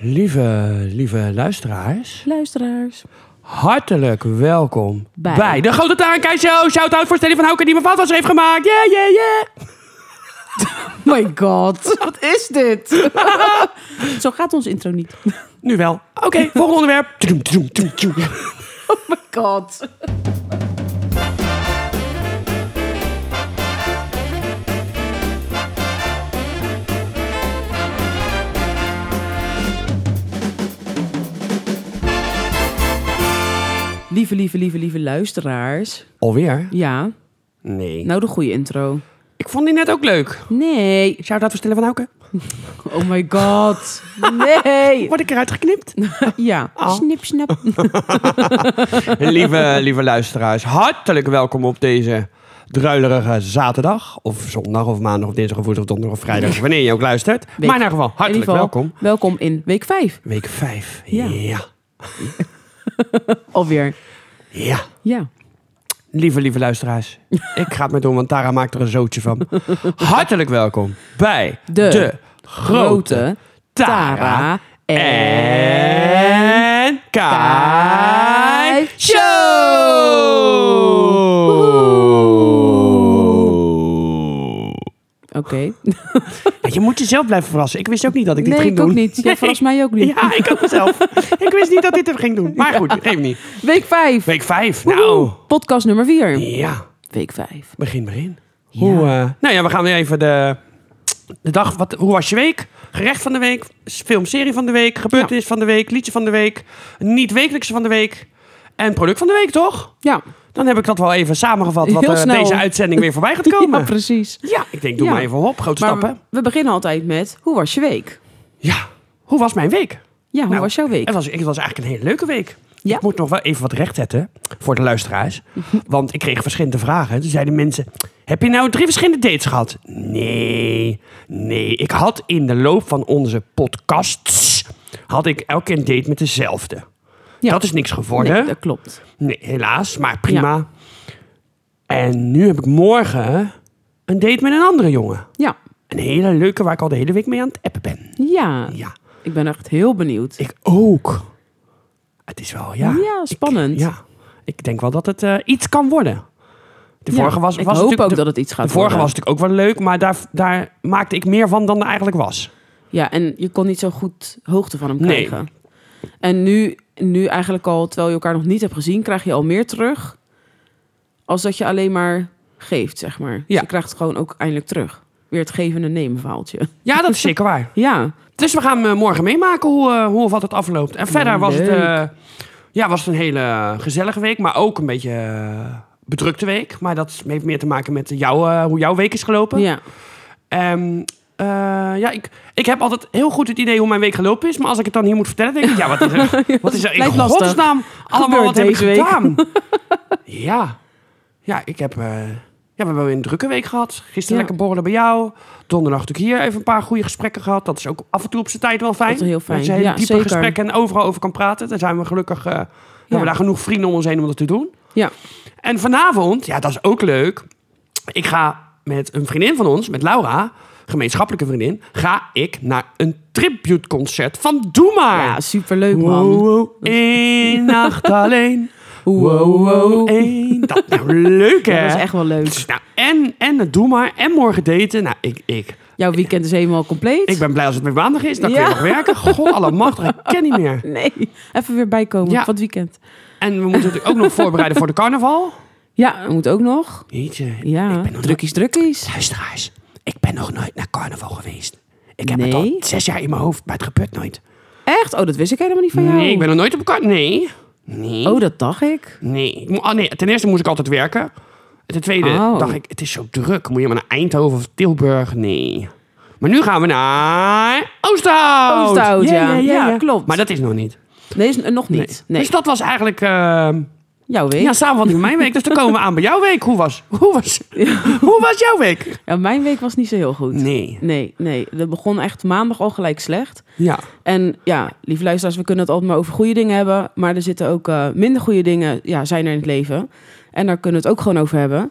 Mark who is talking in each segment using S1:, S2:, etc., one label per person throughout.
S1: Lieve, lieve luisteraars,
S2: Luisteraars.
S1: hartelijk welkom bij,
S2: Bij-
S1: de Grote Taankai Show. Shout-out voor Stanley van Houken die mijn vatwas heeft gemaakt. Yeah, yeah, yeah.
S2: My god, wat is dit? Zo gaat ons intro niet.
S1: Nu wel. Oké, volgende onderwerp. Tudum, tudum, tudum, tudum.
S2: Oh my god. Lieve, lieve, lieve, lieve luisteraars.
S1: Alweer?
S2: Ja,
S1: Nee.
S2: nou de goede intro.
S1: Ik vond die net ook leuk.
S2: Nee.
S1: Shout-out voor Stanley van Houken.
S2: Oh my god. Ah. Nee.
S1: Word ik eruit geknipt?
S2: Ja. Snip, snap.
S1: lieve, lieve luisteraars, hartelijk welkom op deze druilerige zaterdag. Of zondag, of maandag, of dinsdag, of woensdag, of donderdag, of vrijdag. Wanneer je ook luistert. Maar in ieder geval,
S2: In ieder
S1: hartelijk
S2: geval,
S1: welkom.
S2: Welkom in week 5.
S1: Week 5.
S2: Ja.
S1: ja.
S2: Alweer.
S1: Ja.
S2: Ja.
S1: Lieve, lieve luisteraars. Ik ga het met doen, want Tara maakt er een zootje van. Hartelijk welkom bij de,
S2: De
S1: grote Tara en Kai
S2: Kai
S1: Show.
S2: Oké.
S1: Ja, Nou, Je moet jezelf blijven verrassen. Ik wist ook niet dat ik dit
S2: Nee,
S1: ging
S2: ik ook
S1: doen.
S2: niet. Jij verrast mij ook niet.
S1: Ja, ik ook mezelf. ik wist niet dat dit hem ging doen. Maar goed, geef niet.
S2: Week 5.
S1: Week 5. Nou,
S2: Podcast nummer 4.
S1: ja.
S2: Week 5.
S1: Begin, begin. Hoe, eh, nou ja, we gaan weer even de, de dag. Wat, hoe was je week? Gerecht van de week, s- filmserie van de week, gebeurtenis van de week, liedje van de week, niet-wekelijkse van de week en product van de week, toch?
S2: Ja.
S1: Dan heb ik dat wel even samengevat wat
S2: Heel
S1: er
S2: snel.
S1: deze uitzending weer voorbij gaat komen.
S2: Ja, precies.
S1: Ja, ik denk, doe
S2: Ja.
S1: maar even op. Grote
S2: Maar
S1: stappen.
S2: we, we beginnen altijd met, hoe was je week?
S1: Ja, hoe was mijn week?
S2: Ja, hoe
S1: Nou,
S2: was jouw week?
S1: Het was, het was eigenlijk een hele leuke week.
S2: Ja?
S1: Ik moet nog wel even wat rechtzetten voor de luisteraars. Want ik kreeg verschillende vragen. Toen zeiden mensen, heb je nou drie verschillende dates gehad? Nee, nee. Ik had in de loop van onze podcasts... had ik elke keer een date met dezelfde.
S2: Ja.
S1: Dat is niks geworden.
S2: Nee,
S1: Nee,
S2: dat klopt.
S1: helaas, maar prima. En nu heb ik morgen een date met een andere jongen.
S2: Ja.
S1: Een hele leuke waar ik al de hele week mee aan het appen ben.
S2: Ja.
S1: Ja,
S2: Ik ben echt heel benieuwd.
S1: ik ook. Het is wel, ja...
S2: Ja, spannend.
S1: Ja, ik denk wel dat het eh, iets kan worden. De
S2: Ja,
S1: vorige was, was
S2: ik hoop
S1: natuurlijk-
S2: ook
S1: de,
S2: dat het iets gaat
S1: de vorige was
S2: worden.
S1: natuurlijk ook wel leuk, maar daar, daar maakte ik meer van dan er eigenlijk was.
S2: Ja, en je kon niet zo goed hoogte van hem
S1: Nee.
S2: krijgen. En nu, nu eigenlijk al, terwijl je elkaar nog niet hebt gezien, krijg je al meer terug. Als dat je alleen maar geeft, zeg maar. Dus
S1: Ja.
S2: je krijgt het gewoon ook eindelijk terug. Weer het geven en nemen verhaaltje.
S1: Ja, dat is zeker waar.
S2: Ja,
S1: Dus we gaan eh, morgen meemaken hoe, eh, hoe of wat het afloopt. En verder was het,
S2: leuk.
S1: eh, ja, was het een hele gezellige week, maar ook een beetje eh, bedrukte week. Maar dat heeft meer te maken met jou, eh, hoe jouw week is gelopen.
S2: ja.
S1: Ehm, eh, ja, ik, ik heb altijd heel goed het idee hoe mijn week gelopen is. Maar als ik het dan hier moet vertellen, denk ik... Ja, wat is er, wat is er in
S2: Lijkt lastig.
S1: godsnaam allemaal
S2: Gebeurt
S1: wat heb ik
S2: deze week.
S1: gedaan? ja. ja, ik heb... eh, ja, we hebben weer een drukke week gehad. Gisteren
S2: Ja.
S1: lekker borrelen bij jou. Donderdag natuurlijk hier even een paar goede gesprekken gehad. Dat is ook af en toe op zijn tijd wel fijn.
S2: Dat is heel fijn.
S1: Dat je hele
S2: Ja,
S1: diepe
S2: zeker.
S1: gesprekken en overal over kan praten. Daar zijn we gelukkig... eh, Hebben we daar genoeg vrienden om ons heen om dat te doen.
S2: Ja,
S1: En vanavond, ja, dat is ook leuk. Ik ga met een vriendin van ons, met Laura, gemeenschappelijke vriendin, ga ik naar een tributeconcert van Doe Maar.
S2: ja Ah, superleuk
S1: Wow,
S2: man.
S1: wow, één nacht alleen.
S2: Wow, wow.
S1: één. Dat nou leuk, hè?
S2: Dat is echt wel leuk.
S1: Nou, en, en het Doe Maar en morgen daten. Nou, ik, ik,
S2: Jouw weekend is helemaal compleet.
S1: ik ben blij als het weer maandag is. Dan
S2: Ja.
S1: kun je nog werken. God allemachtig, ik ken niet meer.
S2: Nee, even weer bijkomen
S1: Ja.
S2: van het weekend.
S1: En we moeten natuurlijk ook nog voorbereiden voor de carnaval.
S2: Ja, dat moet ook nog.
S1: Jeetje,
S2: Ja,
S1: ben nog
S2: drukkies, drukkies.
S1: Luisteraars, ik ben nog nooit naar carnaval geweest. Ik heb het
S2: Nee?
S1: al zes jaar in mijn hoofd, maar het gebeurt nooit.
S2: Echt? Oh, dat wist ik helemaal niet van jou.
S1: Nee, ik ben nog nooit op carnaval. Nee. Nee.
S2: Oh, dat dacht ik.
S1: nee. Ik mo- ah, nee. Ten eerste moest ik altijd werken. Ten tweede
S2: Oh.
S1: dacht ik, het is zo druk. Moet je maar naar Eindhoven of Tilburg? Nee. Maar nu gaan we naar Oosterhout.
S2: Oosterhout, ja. Ja, klopt.
S1: Maar dat is nog niet.
S2: Nee, is, eh, nog niet. Nee.
S1: Dus dat was eigenlijk ehm
S2: Jouw week.
S1: ja, samenvatting van mijn week. Dus dan komen we aan bij jouw week. Hoe was, hoe was, hoe was jouw week?
S2: Ja, mijn week was niet zo heel goed.
S1: Nee.
S2: Nee, nee. Dat begon echt maandag al gelijk slecht.
S1: Ja.
S2: En ja, lieve luisteraars, we kunnen het altijd maar over goede dingen hebben. Maar er zitten ook eh, minder goede dingen, ja, zijn er in het leven. En daar kunnen we het ook gewoon over hebben.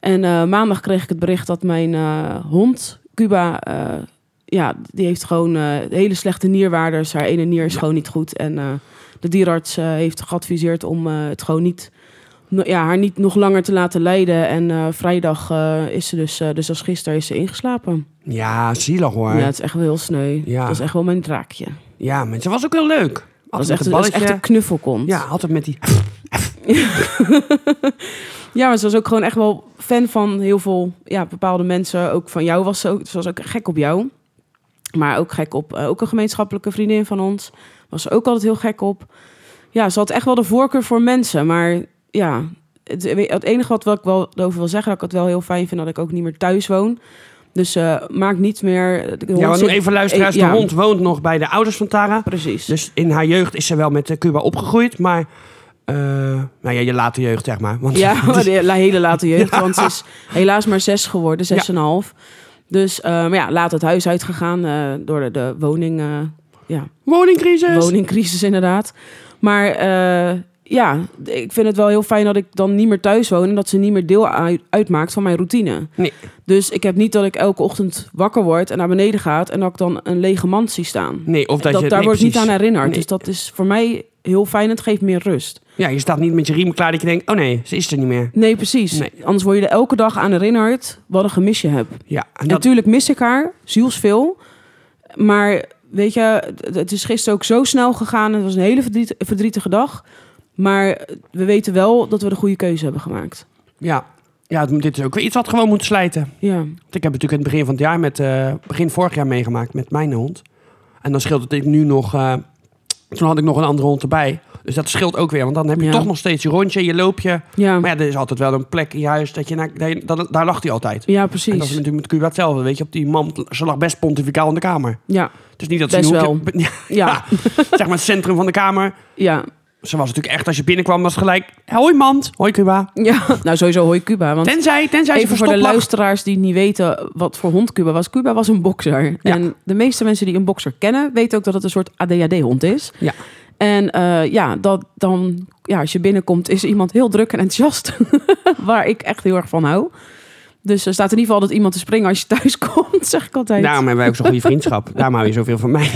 S2: En eh, maandag kreeg ik het bericht dat mijn eh, hond, Cuba, eh, ja, die heeft gewoon eh, hele slechte nierwaarders. Haar ene nier is gewoon niet goed. En eh, de dierarts eh, heeft geadviseerd om eh, het gewoon niet, no- ja, haar niet nog langer te laten lijden. En eh, vrijdag eh, is ze dus, eh, dus als gisteren, is ze ingeslapen.
S1: Ja, zielig hoor.
S2: Ja,
S1: Ja,
S2: het is echt wel heel sneu.
S1: Ja.
S2: Dat is echt wel mijn draakje.
S1: maar ze was ook heel leuk.
S2: Dat
S1: Altijd
S2: is echt,
S1: met het
S2: dat is
S1: balletje.
S2: dus echt een knuffelkont.
S1: Ja, altijd met die...
S2: Ja, maar ze was ook gewoon echt wel fan van heel veel ja, bepaalde mensen. Ook van jou was ze ook. Ze was ook gek op jou. Maar ook gek op eh, ook een gemeenschappelijke vriendin van ons. Was ze ook altijd heel gek op. Ja, ze had echt wel de voorkeur voor mensen. Maar ja, het, eh, het enige wat, wat ik wel over wil zeggen... dat ik het wel heel fijn vind dat ik ook niet meer thuis woon. Dus eh maakt niet meer... de hond
S1: Ja, want
S2: zit-
S1: even luisteraars.
S2: eh, ja,
S1: De hond woont nog bij de ouders van Tara.
S2: Precies.
S1: Dus in haar jeugd is ze wel met eh, Cuba opgegroeid. Maar, eh, nou ja, je late jeugd zeg maar. Want
S2: Ja, maar de la- hele late jeugd. Want ze is helaas maar zes geworden, zes
S1: Ja.
S2: en een half. Dus eh, maar ja, laat het huis uitgegaan eh, door de, de woning, eh, ja,
S1: Woningcrisis.
S2: woningcrisis inderdaad. Maar eh, ja, ik vind het wel heel fijn dat ik dan niet meer thuis woon... en dat ze niet meer deel uit- uitmaakt van mijn routine.
S1: Nee.
S2: Dus ik heb niet dat ik elke ochtend wakker word en naar beneden gaat... en dat ik dan een lege mand zie staan.
S1: Nee, of dat,
S2: Dat,
S1: je...
S2: daar
S1: nee,
S2: wordt niet
S1: precies.
S2: aan herinnerd.
S1: Nee.
S2: Dus dat is voor mij heel fijn. Het geeft meer rust.
S1: Ja, je staat niet met je riem klaar dat je denkt... Oh nee, ze is er niet meer.
S2: Nee, precies.
S1: Nee.
S2: Anders word je er elke dag aan herinnerd wat een gemis je hebt.
S1: Ja, en dat...
S2: Natuurlijk mis ik haar, zielsveel. Maar weet je, het- het is gisteren ook zo snel gegaan. Het was een hele verdriet- verdrietige dag. Maar we weten wel dat we de goede keuze hebben gemaakt.
S1: Ja, ja het moet- dit is ook weer iets wat gewoon moet slijten.
S2: Ja,
S1: Want ik heb natuurlijk in het begin van het jaar met... eh, begin vorig jaar meegemaakt met mijn hond. En dan scheelt het ik nu nog... eh, toen had ik nog een andere hond erbij. Dus dat scheelt ook weer. Want dan heb je
S2: Ja.
S1: toch nog steeds je rondje, je loopje.
S2: ja.
S1: Maar ja, er is altijd wel een plek in je huis dat je... naar- dat je- dat- daar lag hij altijd.
S2: ja
S1: En dat is
S2: precies.
S1: natuurlijk met Cuba hetzelfde. Weet je, op die man, ze lag best pontificaal in de kamer.
S2: Ja,
S1: Het is niet dat ze
S2: Best
S1: een hoekje- Ah.
S2: ja,
S1: zeg maar het centrum van de kamer.
S2: ja.
S1: Ze was natuurlijk echt, als je binnenkwam, was het gelijk... Hoi, mand. Hoi, Cuba.
S2: ja. Nou, sowieso hoi Cuba. Want
S1: Tenzij, tenzij ze
S2: Even voor de
S1: verstopt lag.
S2: luisteraars die het niet weten wat voor hond Cuba was. Cuba was een bokser.
S1: Ja.
S2: En de meeste mensen die een bokser kennen, weten ook dat het een soort ADHD-hond is.
S1: Ja.
S2: En eh, ja, dat dan, ja, als je binnenkomt, is iemand heel druk en enthousiast. waar ik echt heel erg van hou. Dus er staat in ieder geval dat iemand te springen als je thuis komt, zeg ik altijd.
S1: Daarom hebben wij ook zo'n goede vriendschap. Daarom hou je zoveel van mij.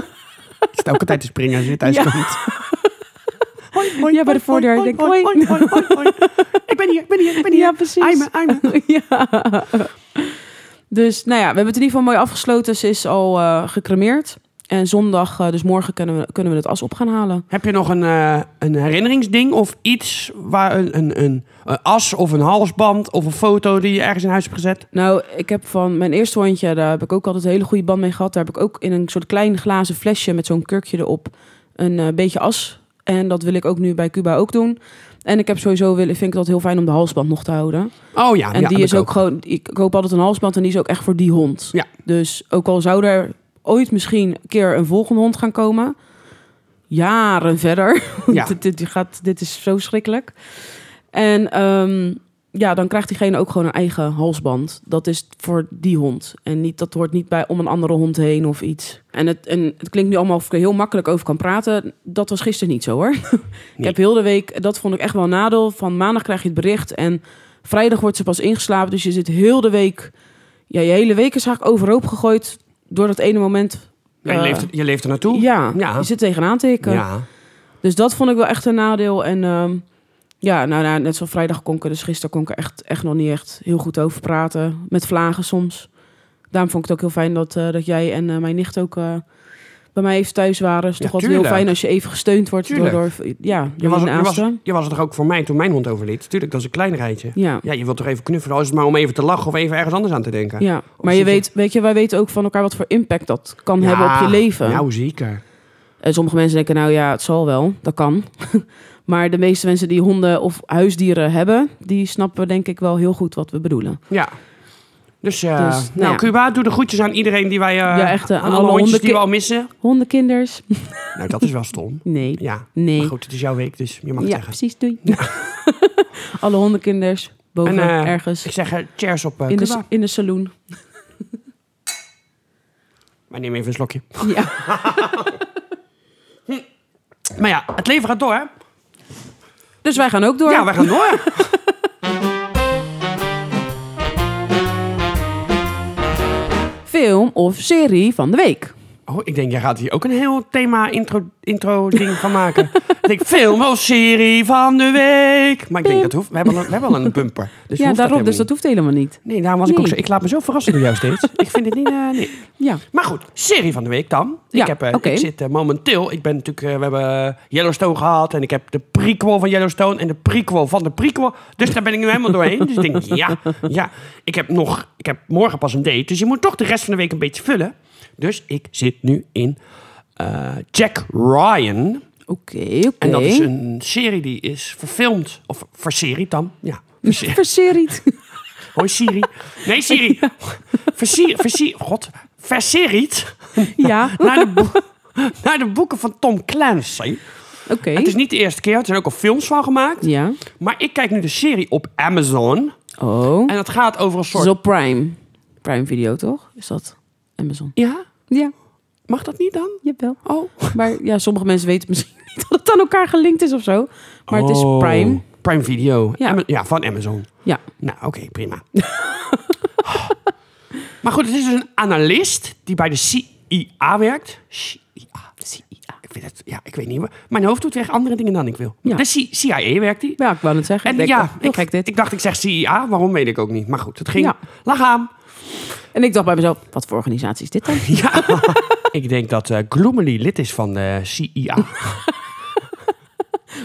S1: Het is elke tijd te springen als je thuis
S2: Ja.
S1: komt. Hoi, hoi,
S2: Ja, bij de voordeur. Denk, hoi.
S1: hoi, hoi, hoi. Ik ben hier, ik ben hier, ik ben hier.
S2: Ja, precies.
S1: Aime, aime.
S2: ja. Dus nou ja, we hebben het in ieder geval mooi afgesloten. Ze is al eh gecremeerd. En zondag, eh, dus morgen, kunnen we, kunnen we het as op gaan halen.
S1: Heb je nog een, eh, een herinneringsding of iets waar een, een, een, een as of een halsband of een foto die je ergens in huis hebt gezet?
S2: Nou, ik heb van mijn eerste hondje, daar heb ik ook altijd een hele goede band mee gehad. Daar heb ik ook in een soort klein glazen flesje met zo'n kurkje erop een eh, beetje as. En dat wil ik ook nu bij Cuba ook doen. En ik heb sowieso, willen, vind ik dat heel fijn om de halsband nog te houden.
S1: Oh ja,
S2: En
S1: ja,
S2: die
S1: dat
S2: is ook, gewoon, ik koop altijd een halsband en die is ook echt voor die hond.
S1: Ja.
S2: Dus ook al zou er ooit misschien een keer een volgende hond gaan komen, jaren verder,
S1: Ja.
S2: dit, dit, gaat, dit is zo schrikkelijk. En ehm, ja, dan krijgt diegene ook gewoon een eigen halsband. Dat is voor die hond. En niet, dat hoort niet bij om een andere hond heen of iets. En het, en het klinkt nu allemaal of ik er heel makkelijk over kan praten. Dat was gisteren niet zo hoor. Ik heb heel de week, dat vond ik echt wel een nadeel. Van maandag krijg je het bericht en vrijdag wordt ze pas ingeslapen. Dus je zit heel de week, ja, je hele week is eigenlijk overhoop gegooid door dat ene moment.
S1: Ja, je,
S2: eh,
S1: leeft, je leeft er naartoe.
S2: Ja,
S1: Ja.
S2: je zit tegenaan te hikken.
S1: Ja.
S2: Dus dat vond ik wel echt een nadeel. En ehm, ja, nou, nou, net zoals vrijdag kon ik er, dus gisteren kon ik er echt, echt nog niet echt heel goed over praten. Met vlagen soms. Daarom vond ik het ook heel fijn dat, eh, dat jij en eh, mijn nicht ook eh, bij mij even thuis waren. is
S1: Ja,
S2: toch altijd heel
S1: tuurlijk.
S2: fijn als je even gesteund wordt door,
S1: Tuurlijk.
S2: door, ja,
S1: Je,
S2: door
S1: was,
S2: je
S1: er- je, was,
S2: naasten.
S1: je was er toch ook voor mij toen mijn hond overleed? Tuurlijk, dat is een klein rijtje.
S2: Ja.
S1: Ja, je wilt toch even knuffelen, al is het maar om even te lachen of even ergens anders aan te denken.
S2: Ja, maar
S1: zit
S2: je
S1: je-
S2: weet, weet je, wij weten ook van elkaar wat voor impact dat kan
S1: Ja,
S2: hebben op je leven.
S1: Nou, zeker.
S2: En sommige mensen denken, nou ja, het zal wel, dat kan. maar de meeste mensen die honden of huisdieren hebben, die snappen denk ik wel heel goed wat we bedoelen.
S1: Ja. Dus, eh,
S2: Dus,
S1: nou,
S2: nou ja.
S1: Cuba, doe de groetjes aan iedereen die wij... eh,
S2: Ja, echt, eh,
S1: aan
S2: aan
S1: alle
S2: alle
S1: hondjes die we
S2: hondenki-
S1: al missen.
S2: Hondenkinders?
S1: nou, dat is wel stom.
S2: Nee.
S1: Ja. Maar
S2: Nee.
S1: goed, het is jouw week, dus je mag
S2: Ja,
S1: het zeggen.
S2: precies, doei. Alle hondenkinders, boven,
S1: En, eh,
S2: ergens,
S1: Ik zeg eh, cheers op eh,
S2: in de,
S1: Cuba.
S2: in de saloon.
S1: Maar neem even een slokje.
S2: Ja,
S1: Maar ja, het leven gaat door, hè?
S2: dus wij gaan ook door.
S1: Ja, wij gaan door.
S2: film of serie van de week.
S1: Oh, ik denk, jij gaat hier ook een heel thema intro, intro ding van maken. ik denk, film of serie van de week. Maar ik denk, dat hoeft, we, hebben al een, we hebben al een bumper. Dus
S2: ja,
S1: hoeft dat
S2: daarop.
S1: helemaal
S2: dus dat hoeft helemaal niet.
S1: niet. Nee, daarom was ik ook
S2: Nee.
S1: zo... Ik laat me zo verrassen door jou steeds. ik vind het niet... eh, nee.
S2: Ja.
S1: Maar goed, serie van de week dan.
S2: Ja,
S1: ik, heb, eh,
S2: oké.
S1: ik zit eh, momenteel... Ik ben natuurlijk... eh, we hebben Yellowstone gehad. En ik heb de prequel van Yellowstone. En de prequel van de prequel. Dus daar ben ik nu helemaal doorheen. Dus ik denk, ja, ja. Ik heb, nog, ik heb morgen pas een date. Dus je moet toch de rest van de week een beetje vullen. Dus ik zit nu in eh, Jack Ryan.
S2: Oké, oké.
S1: En dat is een serie die is verfilmd. Of verserie dan. Ja, verserie.
S2: Verseried.
S1: Hoi Siri. Nee, Siri. Versie, versie, God, verseriet
S2: ja,
S1: naar de, boe- naar de boeken van Tom Clancy.
S2: oké.
S1: Het is niet de eerste keer, er zijn ook al films van gemaakt.
S2: Ja.
S1: Maar ik kijk nu de serie op Amazon.
S2: Oh.
S1: En dat gaat over een
S2: Het
S1: soort...
S2: is op Prime. Prime Video, toch? Is dat Amazon?
S1: Ja?
S2: Ja,
S1: Mag dat niet dan?
S2: jawel.
S1: Oh.
S2: Maar ja, sommige mensen weten misschien niet dat het aan elkaar gelinkt is of zo. Maar het
S1: Oh.
S2: is Prime.
S1: Prime Video.
S2: Ja.
S1: Ama- ja, van Amazon.
S2: Ja.
S1: Nou, oké, prima. maar goed, het is dus een analist die bij de CIA werkt. CIA.
S2: CIA.
S1: Ik weet, het, ja, ik weet niet. maar Mijn hoofd doet echt andere dingen dan ik wil.
S2: Ja.
S1: De C- CIA werkt die.
S2: Ja, ik wou het zeggen.
S1: En
S2: ik denk,
S1: ja,
S2: oh, heel
S1: ik,
S2: gek dit.
S1: ik dacht ik zeg CIA, waarom weet ik ook niet. Maar goed, het ging.
S2: Ja.
S1: Lag aan.
S2: en ik dacht bij mezelf, wat voor organisatie is dit dan?
S1: Ja. ik denk dat eh Gloomily lid is van de E CIA.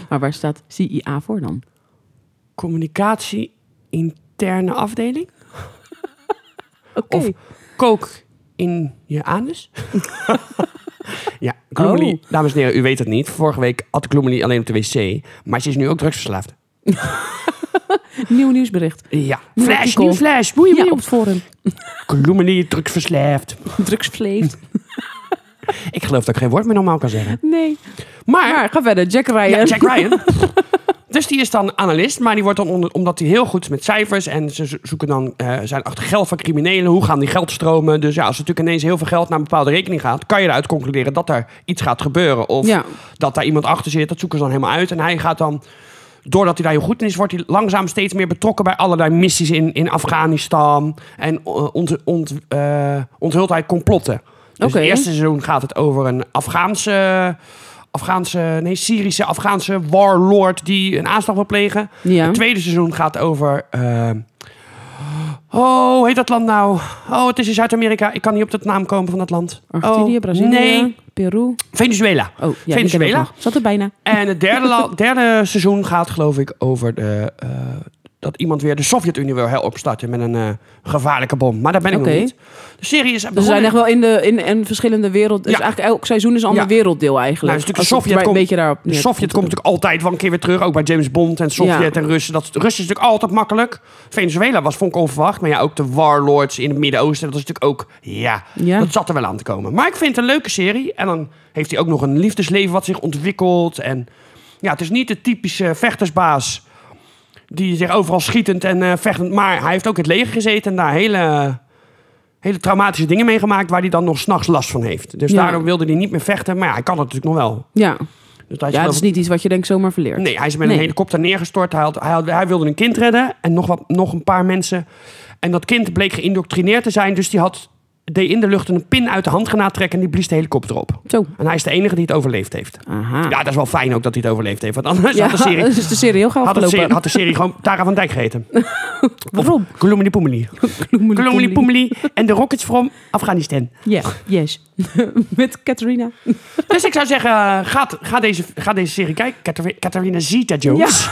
S2: Maar waar staat CIA voor dan?
S1: Communicatie interne afdeling.
S2: Oké.
S1: Of kook in je anus. ja, Gloomily.
S2: Oh.
S1: Dames en heren, u weet het niet. Vorige week at Gloomily alleen op de wc. Maar ze is nu ook drugsverslaafd.
S2: Nieuw nieuwsbericht.
S1: Ja.
S2: Nieuw
S1: Flash,
S2: artikel.
S1: nieuw flash. Boeien,
S2: Ja,
S1: boeien.
S2: op het forum.
S1: Gloomily, drugsverslaafd.
S2: Drugsvlees.
S1: Ik geloof dat ik geen woord meer normaal kan zeggen.
S2: Nee.
S1: Maar,
S2: Maar ga verder. Jack Ryan.
S1: ja, Jack Ryan. dus die is dan analist, maar die wordt dan onder, omdat hij heel goed is met cijfers en ze zo- zoeken dan eh, zijn achter geld van criminelen. Hoe gaan die geldstromen? Dus ja, als er natuurlijk ineens heel veel geld naar een bepaalde rekening gaat, kan je eruit concluderen dat er iets gaat gebeuren of
S2: Ja.
S1: dat daar iemand achter zit. Dat zoeken ze dan helemaal uit en hij gaat dan doordat hij daar heel goed in is, wordt hij langzaam steeds meer betrokken bij allerlei missies in, in Afghanistan. En eh, ont, ont, eh, onthult hij complotten. Dus
S2: Oké.
S1: het eerste seizoen gaat het over een Afghaanse, Afghaanse, nee, Syrische, Afghaanse warlord die een aanslag wil plegen.
S2: Ja.
S1: Het tweede seizoen gaat over. eh, oh, hoe heet dat land nou? Oh, het is in Zuid-Amerika. Ik kan niet op dat naam komen van dat land.
S2: Argentinië,
S1: oh,
S2: Brazilië.
S1: Nee,
S2: Peru.
S1: Venezuela.
S2: Oh, ja, die ken ik
S1: Venezuela.
S2: nog. Zat er bijna.
S1: En het derde, la- derde seizoen gaat, geloof ik, over de, eh, dat iemand weer de Sovjet-Unie wil heel opstarten met een eh, gevaarlijke bom. Maar daar ben ik
S2: Oké.
S1: nog niet. De serie is.
S2: Dus we zijn echt wel in, de, in, in verschillende wereld. Dus
S1: Ja.
S2: eigenlijk elk seizoen is een ander
S1: Ja.
S2: werelddeel eigenlijk.
S1: Nou, dus natuurlijk de
S2: Als het
S1: Sovjet
S2: maar
S1: komt-
S2: een beetje daarop
S1: De
S2: neer-
S1: Sovjet komt natuurlijk altijd wel een keer weer terug. Ook bij James Bond en Sovjet
S2: Ja.
S1: en Russen. Dat, Russen is natuurlijk altijd makkelijk. Venezuela was, vond ik onverwacht. Maar ja, ook de warlords in het Midden-Oosten. Dat is natuurlijk ook... Ja,
S2: Ja.
S1: dat zat er wel aan te komen. Maar ik vind het een leuke serie. En dan heeft hij ook nog een liefdesleven wat zich ontwikkelt. En ja, het is niet de typische vechtersbaas... die zich overal schietend en eh, vechtend... Maar hij heeft ook in het leger gezeten en daar hele... Hele traumatische dingen meegemaakt waar hij dan nog s'nachts last van heeft. Dus
S2: Ja.
S1: daarom wilde hij niet meer vechten. Maar ja, hij kan het natuurlijk nog wel.
S2: Ja.
S1: Dus dat
S2: ja, het is niet iets wat je denkt zomaar verleert.
S1: Nee, hij is met een
S2: Nee.
S1: helikopter neergestort. Hij, had, hij, had- hij wilde een kind redden en nog, wat, nog een paar mensen. En dat kind bleek geïndoctrineerd te zijn. Dus die had, deed in de lucht een pin uit de handgranaat trekken en die blies de helikopter op.
S2: Zo.
S1: En hij is de enige die het overleefd heeft.
S2: Aha.
S1: Ja, dat is wel fijn ook dat hij het overleefd heeft. Want anders had, de serie,
S2: dus Ah. is de serie heel gauw
S1: had, de
S2: afgelopen.
S1: serie, had de serie gewoon Tara van Dijk geheten.
S2: Waarom?
S1: Gloomily Poemely.
S2: Gloomily
S1: Gloomily
S2: Poemely.
S1: Poemely en de Rockets from Afghanistan.
S2: Ja, yes. Met Katrina.
S1: Dus ik zou zeggen, eh, ga, ga, deze, ga deze serie kijken. Catherine- Catherine Zeta-Jones.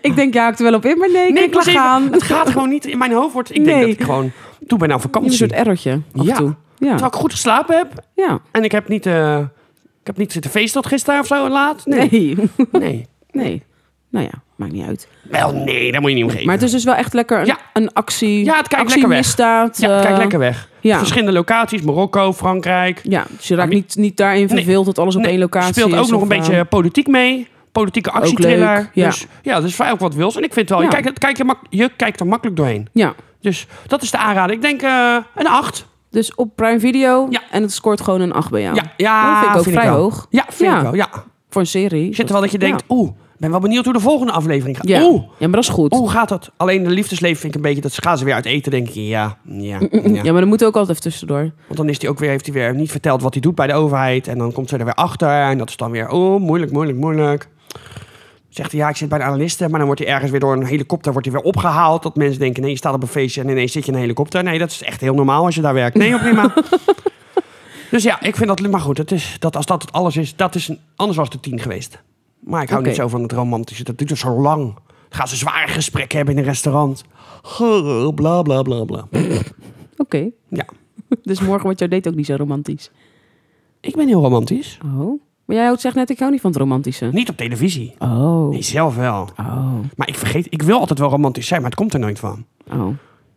S2: Ik denk, ja, ik er wel op in, maar nee, ik
S1: Nee,
S2: denk,
S1: ik was
S2: laat
S1: even- Oh,
S2: gaan.
S1: Het gaat gewoon niet. In mijn hoofd wordt. Ik denk
S2: Nee.
S1: dat ik gewoon. Toen ben ik aan
S2: Een
S1: vakantie.
S2: soort errortje af
S1: Ja.
S2: en toe. Ja.
S1: Terwijl ik goed geslapen heb.
S2: ja.
S1: En ik heb niet. eh, ik heb niet zitten feesten tot gisteren of zo laat. Nee.
S2: Nee.
S1: nee.
S2: Nee. Nou ja, maakt niet uit.
S1: Wel, nee, daar moet je niet om geven.
S2: Maar het is dus wel echt lekker een,
S1: Ja.
S2: een actie.
S1: Ja, het kijkt
S2: actie
S1: lekker weg.
S2: misdaad.
S1: ja, kijk
S2: eh,
S1: lekker weg.
S2: ja.
S1: Verschillende locaties: Marokko, Frankrijk.
S2: Ja, dus je raakt
S1: Maar-
S2: niet, niet daarin
S1: Nee.
S2: verveeld dat alles op
S1: Nee,
S2: één locatie
S1: Speelt ook
S2: is,
S1: nog
S2: of,
S1: een beetje
S2: eh,
S1: politiek mee. Politieke actietriller.
S2: leuk, ja.
S1: Dus ja, dat is vrij ook wat wils. En ik vind het wel.
S2: Ja.
S1: Je, kijkt, kijk je, mak- je kijkt er makkelijk doorheen.
S2: ja,
S1: Dus dat is de aanrader. Ik denk eh, een 8.
S2: dus op Prime Video.
S1: Ja.
S2: En het scoort gewoon een 8 bij jou.
S1: Ja, ja,
S2: dat vind ik ook vrij
S1: wel.
S2: hoog.
S1: Ja, vind
S2: Ja.
S1: ik wel. Ja.
S2: Voor een serie.
S1: Zit er wel dat je denkt, oeh, ben wel benieuwd hoe de volgende aflevering gaat.
S2: Ja.
S1: Oeh,
S2: ja, maar dat is goed.
S1: hoe gaat dat? Alleen de liefdesleven vind ik een beetje... Dat ze gaan ze weer uit eten, denk ik. Ja, ja, ja.
S2: ja. maar dan moet ook altijd even tussendoor.
S1: Want dan is hij ook weer, heeft hij weer niet verteld wat hij doet bij de overheid. En dan komt ze er weer achter. En dat is dan weer, oh, moeilijk, moeilijk, moeilijk. Zegt hij, ja, ik zit bij de analisten. Maar dan wordt hij ergens weer door een helikopter wordt hij weer opgehaald. Dat mensen denken, nee, je staat op een feestje en ineens zit je in een helikopter. Nee, dat is echt heel normaal als je daar werkt. Nee, joh, prima. dus ja, ik vind dat, maar goed, het is, dat, als dat het alles is, dat is een, anders was het tien geweest. Maar ik hou
S2: Oké.
S1: niet zo van het romantische. Dat duurt dus zo lang. Dan gaan ze zware gesprekken hebben in een restaurant. Bla, bla, bla, bla.
S2: Oké.
S1: Ja,
S2: Dus morgen wordt jouw date ook niet zo romantisch.
S1: ik ben heel romantisch.
S2: Oh. Maar jij houdt, zegt net, ik hou niet van het romantische.
S1: Niet op televisie.
S2: Oh.
S1: Nee, zelf wel.
S2: Oh.
S1: Maar ik vergeet, ik wil altijd wel romantisch zijn, maar het komt er nooit van.
S2: Oh.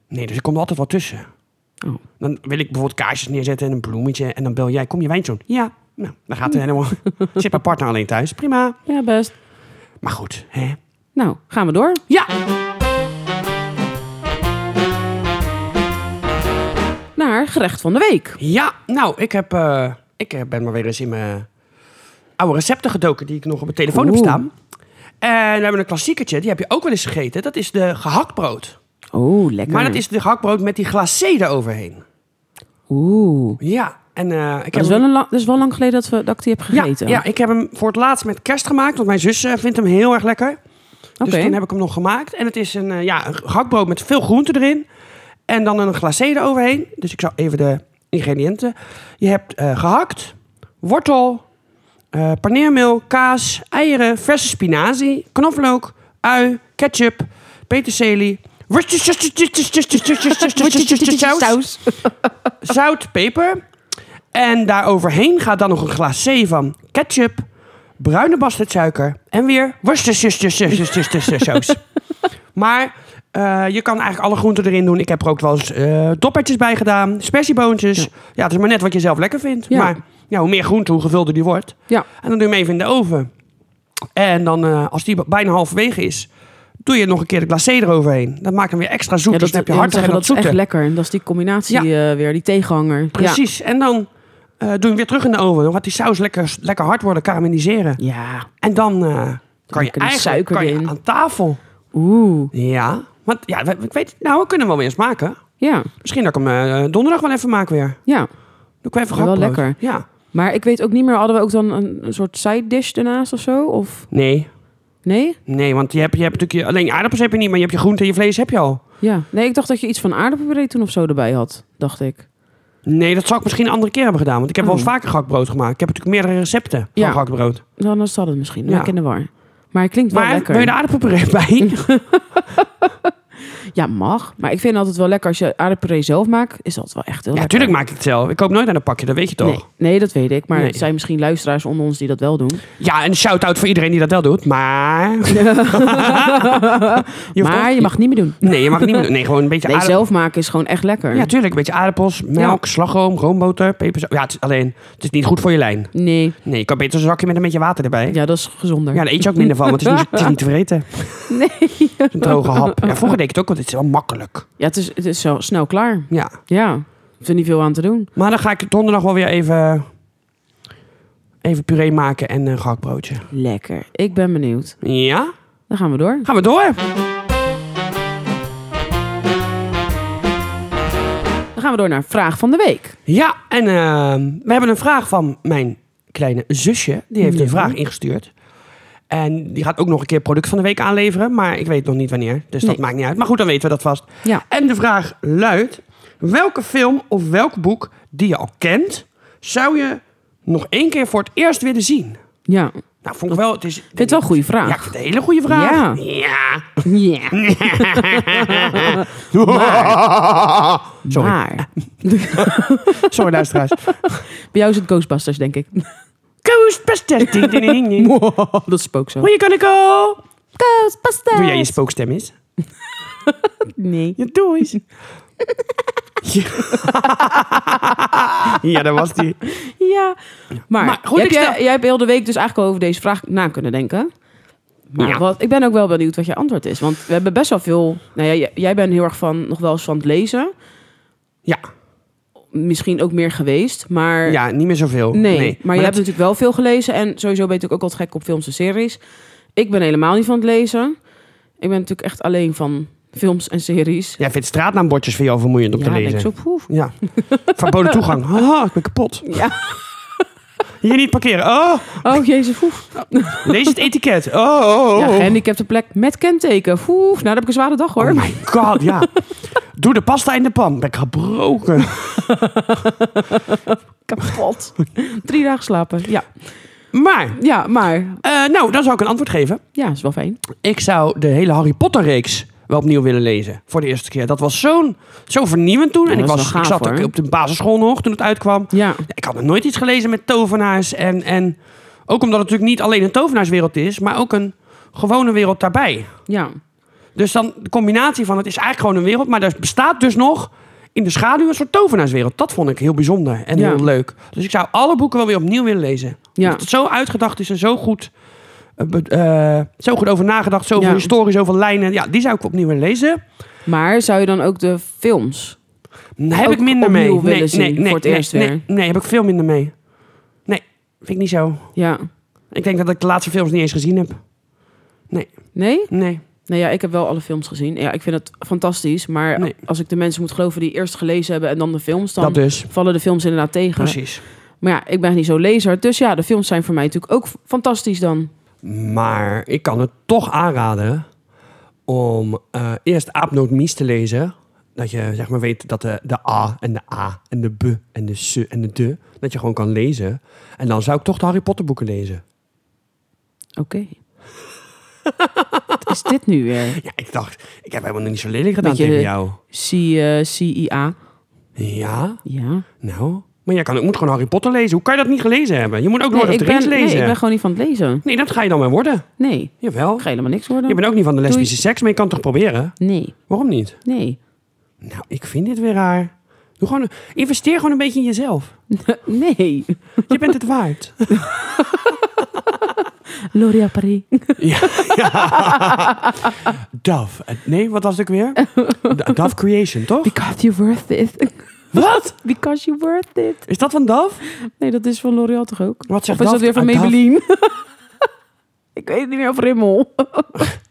S1: Nee, dus ik kom er altijd wel tussen.
S2: Oh.
S1: Dan wil ik bijvoorbeeld kaarsjes neerzetten en een bloemetje. En dan bel jij, kom je wijntje doen? Ja. Nou, dan gaat het helemaal. Zit mijn partner alleen thuis. Prima.
S2: Ja, best.
S1: Maar goed, hè?
S2: Nou, gaan we door.
S1: Ja!
S2: Naar gerecht van de week.
S1: Ja, nou, ik, heb, eh, ik eh, ben maar weer eens in mijn oude recepten gedoken die ik nog op mijn telefoon heb
S2: Oeh.
S1: staan. En we hebben een klassiekertje, die heb je ook wel eens gegeten. Dat is de gehaktbrood.
S2: Oh, lekker.
S1: Maar dat is de gehaktbrood met die glacé eroverheen.
S2: Oeh.
S1: Ja, en eh, ik
S2: Dat
S1: heb
S2: is, wel een lang, dat is wel lang geleden dat, we, dat ik die heb
S1: Ja,
S2: gegeten.
S1: ja, ik heb hem voor het laatst met kerst gemaakt, want mijn zus eh, vindt hem heel erg lekker.
S2: Oké.
S1: Dus toen heb ik hem nog gemaakt. En het is een, eh, ja, een gehaktbrood met veel groenten erin. En dan een glacé eroverheen. Dus ik zal even de ingrediënten. Je hebt eh, gehakt, wortel, eh paneermeel, kaas, eieren, verse spinazie, knoflook, ui, ketchup, peterselie, Worcestershire
S2: Saus.
S1: zout, peper. En daaroverheen gaat dan nog een glacé van ketchup, bruine bastardsuiker en weer worcestershire Maar eh, je kan eigenlijk alle groenten erin doen. Ik heb er ook wel eens eh doppertjes bij gedaan, spersieboontjes. Ja. het is maar net wat je zelf lekker vindt.
S2: Ja.
S1: Maar ja, hoe meer groente, hoe gevulder die wordt.
S2: Ja.
S1: En dan doe je hem even in de oven. En dan, eh, als die b- bijna halverwege is, doe je nog een keer de glacé eroverheen. Dat maakt hem weer extra zoet.
S2: ja,
S1: dus dan heb je hartig en
S2: dat
S1: dat
S2: is echt
S1: zoete.
S2: lekker. En dat is die combinatie eh, weer, die tegenhanger.
S1: Precies. En dan eh, doe je hem weer terug in de oven. Dan gaat die saus lekker, lekker hard worden, karamelliseren.
S2: Ja. ja.
S1: En dan eh, kan je
S2: lekker die
S1: eigenlijk
S2: suiker
S1: kan je
S2: erin.
S1: aan tafel.
S2: Oeh.
S1: Ja. Want ja, we- ik weet, nou, we kunnen hem wel weer eens maken.
S2: Ja.
S1: Misschien dat ik hem eh, donderdag wel even maak weer.
S2: Ja.
S1: Doe ik wel even
S2: Wel
S1: gehaktbrood.
S2: lekker.
S1: Ja.
S2: Maar ik weet ook niet meer, hadden we ook dan een, een soort side dish ernaast of zo? Of
S1: Nee.
S2: nee?
S1: Nee, want je hebt, je hebt natuurlijk je, alleen je aardappels heb je niet, maar je hebt je groente en je vlees heb je al.
S2: Ja. Nee, ik dacht dat je iets van aardappelpuree toen of zo erbij had, dacht ik.
S1: Nee, dat zal ik misschien een andere keer hebben gedaan. Want ik heb wel eens
S2: Oh.
S1: vaker gehaktbrood gemaakt. Ik heb natuurlijk meerdere recepten van
S2: Ja.
S1: gehaktbrood.
S2: Dan dan zat het misschien.
S1: Ja.
S2: Ja. Ik in de war. Maar het klinkt wel
S1: Maar
S2: lekker.
S1: wil je de aardappelpuree bij? nou-
S2: Ja, mag. Maar ik vind altijd wel lekker als je aardappelpuree zelf maakt, is dat wel echt heel
S1: ja,
S2: lekker.
S1: natuurlijk maak ik het zelf. Ik koop nooit aan een pakje, dat weet je toch?
S2: Nee, nee, dat weet ik. Maar
S1: Nee.
S2: er zijn misschien luisteraars onder ons die dat wel doen.
S1: Ja, en shout-out voor iedereen die dat wel doet, maar... Je hoeft
S2: maar
S1: ook-
S2: je mag het niet meer doen.
S1: Nee, je mag het niet meer doen. Nee, gewoon een beetje
S2: Nee,
S1: aardappels.
S2: zelf maken is gewoon echt lekker.
S1: Ja, tuurlijk. Een beetje aardappels, melk, slagroom, roomboter, peperzout. Ja, het is alleen, het is niet goed voor je lijn.
S2: Nee,
S1: Nee, je kan beter een zakje met een beetje water erbij. Ja,
S2: ja, dat is gezonder.
S1: daar eet je ook minder van, want het is niet, het is niet te vreten. Nee. Een droge hap. Ja, vroeger deed ik het ook, want het is wel makkelijk.
S2: Ja, het is, het is zo snel klaar.
S1: Ja.
S2: Ja, er is er niet veel aan te doen.
S1: Maar dan ga ik donderdag wel weer even, even puree maken en een gehaktbroodje.
S2: Lekker. Ik ben benieuwd.
S1: Ja?
S2: Dan gaan we door.
S1: Gaan we door.
S2: Dan gaan we door naar vraag van de week.
S1: Ja, en ehm, we hebben een vraag van mijn kleine zusje. Die heeft een
S2: Ja.
S1: vraag ingestuurd. En die gaat ook nog een keer product van de week aanleveren. Maar ik weet nog niet wanneer. Dus dat
S2: Nee.
S1: maakt niet uit. Maar goed, dan weten we dat vast.
S2: Ja.
S1: En de vraag luidt: welke film of welk boek die je al kent, zou je nog één keer voor het eerst willen zien?
S2: Ja, ik
S1: Nou, vond ik wel. Het is,
S2: vind het wel een goede
S1: Ja, ik
S2: vraag.
S1: vind het een hele goede vraag.
S2: Ja.
S1: ja.
S2: Ja.
S1: Sorry.
S2: Maar
S1: Sorry, luisteraars.
S2: bij jou is het Ghostbusters, denk ik. Oh,
S1: Ghostbusters. Ding, ding, ding, ding.
S2: dat spookt zo.
S1: Where you gonna go?
S2: Ghostbusters!
S1: Doe jij je spookstem eens?
S2: Nee.
S1: Ja, doe eens. ja, daar was die.
S2: Ja. Maar,
S1: Maar goed,
S2: heb
S1: ik
S2: jij,
S1: stel-
S2: jij hebt heel de week dus eigenlijk al over deze vraag na kunnen denken. Maar
S1: Ja.
S2: wat, ik ben ook wel benieuwd wat je antwoord is. Want we hebben best wel veel... Nou ja, j- jij bent heel erg van, nog wel eens van het lezen.
S1: Ja,
S2: Misschien ook meer geweest, maar...
S1: ja niet meer zoveel.
S2: Nee, maar, je hebt
S1: dat-
S2: natuurlijk wel veel gelezen. En sowieso ben je natuurlijk ook altijd gek op films en series. Ik ben helemaal niet van het lezen. Ik ben natuurlijk echt alleen van films en series.
S1: Jij vindt straatnaambordjes voor jou vermoeiend om
S2: ja,
S1: te
S2: denk ik
S1: lezen.
S2: zo, poef.
S1: Ja. Verboden toegang. Haha, ik ben kapot.
S2: Ja.
S1: Hier niet parkeren. Oh,
S2: Oh, jezus, poef.
S1: lees het etiket. Oh, oh, oh.
S2: Ja, gehandicapte plek met kenteken. Poef. Nou, dan heb ik een zware dag, hoor.
S1: Oh my god, ja. Doe de pasta in de pan. Ben ik gebroken.
S2: Kapot. Drie dagen slapen. Ja.
S1: Maar,
S2: Ja, maar...
S1: eh, nou, dan zou ik een antwoord geven.
S2: Ja, is wel fijn.
S1: Ik zou de hele Harry Potter reeks wel opnieuw willen lezen. Voor de eerste keer. Dat was zo'n zo vernieuwend toen.
S2: Ja,
S1: en ik,
S2: dat is
S1: was,
S2: wel
S1: ik
S2: gaaf,
S1: zat ook
S2: hoor.
S1: op de basisschool nog toen het uitkwam.
S2: Ja.
S1: Ik had nog nooit iets gelezen met tovenaars. En, en ook omdat het natuurlijk niet alleen een tovenaarswereld is, maar ook een gewone wereld daarbij.
S2: Ja.
S1: Dus dan de combinatie van het is eigenlijk gewoon een wereld, maar er bestaat dus nog in de schaduw een soort tovenaarswereld. Dat vond ik heel bijzonder en
S2: Ja.
S1: heel leuk. Dus ik zou alle boeken wel weer opnieuw willen lezen.
S2: Ja.
S1: Omdat het zo uitgedacht is en zo goed, eh, be- eh, zo goed over nagedacht, zoveel
S2: Ja.
S1: historie, zoveel lijnen. Ja, die zou ik opnieuw willen lezen.
S2: Maar zou je dan ook de films...
S1: Daar heb
S2: Ook
S1: ik minder mee.
S2: opnieuw willen zien voor het
S1: nee,
S2: eerst
S1: nee,
S2: weer.
S1: nee, heb ik veel minder mee. Nee, vind ik niet zo.
S2: Ja.
S1: Ik denk dat ik de laatste films niet eens gezien heb.
S2: Nee?
S1: Nee.
S2: Nou ja, ik heb wel alle films gezien. Ja, ik vind het fantastisch. Maar
S1: Nee.
S2: als ik de mensen moet geloven die eerst gelezen hebben en dan de films, dan
S1: dat dus.
S2: vallen de films inderdaad tegen.
S1: Precies.
S2: Maar ja, ik ben niet zo'n lezer. Dus ja, de films zijn voor mij natuurlijk ook fantastisch dan.
S1: Maar ik kan het toch aanraden om eh, eerst Aapnoot Mies te lezen. Dat je zeg maar weet dat de, de A en de A en de B en de S en de D, dat je gewoon kan lezen. En dan zou ik toch de Harry Potter boeken lezen.
S2: Oké. Wat is dit nu weer?
S1: Ja, ik dacht, ik heb helemaal niet zo lelijk gedaan
S2: Beetje-
S1: tegen jou.
S2: C, eh, CIA.
S1: Ja,
S2: Ja.
S1: nou. Maar jij kan, ik moet gewoon Harry Potter lezen. Hoe kan je dat niet gelezen hebben? Je moet ook Lord of
S2: ik
S1: the Rings
S2: ben, nee,
S1: lezen.
S2: ik ben gewoon niet van het lezen.
S1: Nee, dat ga je dan maar worden.
S2: Nee, ik
S1: Jawel.
S2: ga helemaal niks worden.
S1: Je bent ook niet van de
S2: Doei.
S1: lesbische seks, maar je kan het toch proberen?
S2: Nee,
S1: Waarom niet?
S2: nee.
S1: Nou, ik vind dit weer raar. Doe gewoon, investeer gewoon een beetje in jezelf.
S2: nee.
S1: Je bent het waard.
S2: Loria Paris.
S1: ja, Dove. Eh, Nee, wat was het ook weer? D- Dove Creation, toch?
S2: Because you're worth it.
S1: Wat?
S2: Because you're worth it.
S1: Is dat van Dove?
S2: Nee, dat is van L'Oreal toch ook?
S1: Wat
S2: Of
S1: zegt
S2: is dat
S1: Dove?
S2: weer van
S1: Ah, Dove-
S2: Maybelline? ik weet het niet meer of Rimmel.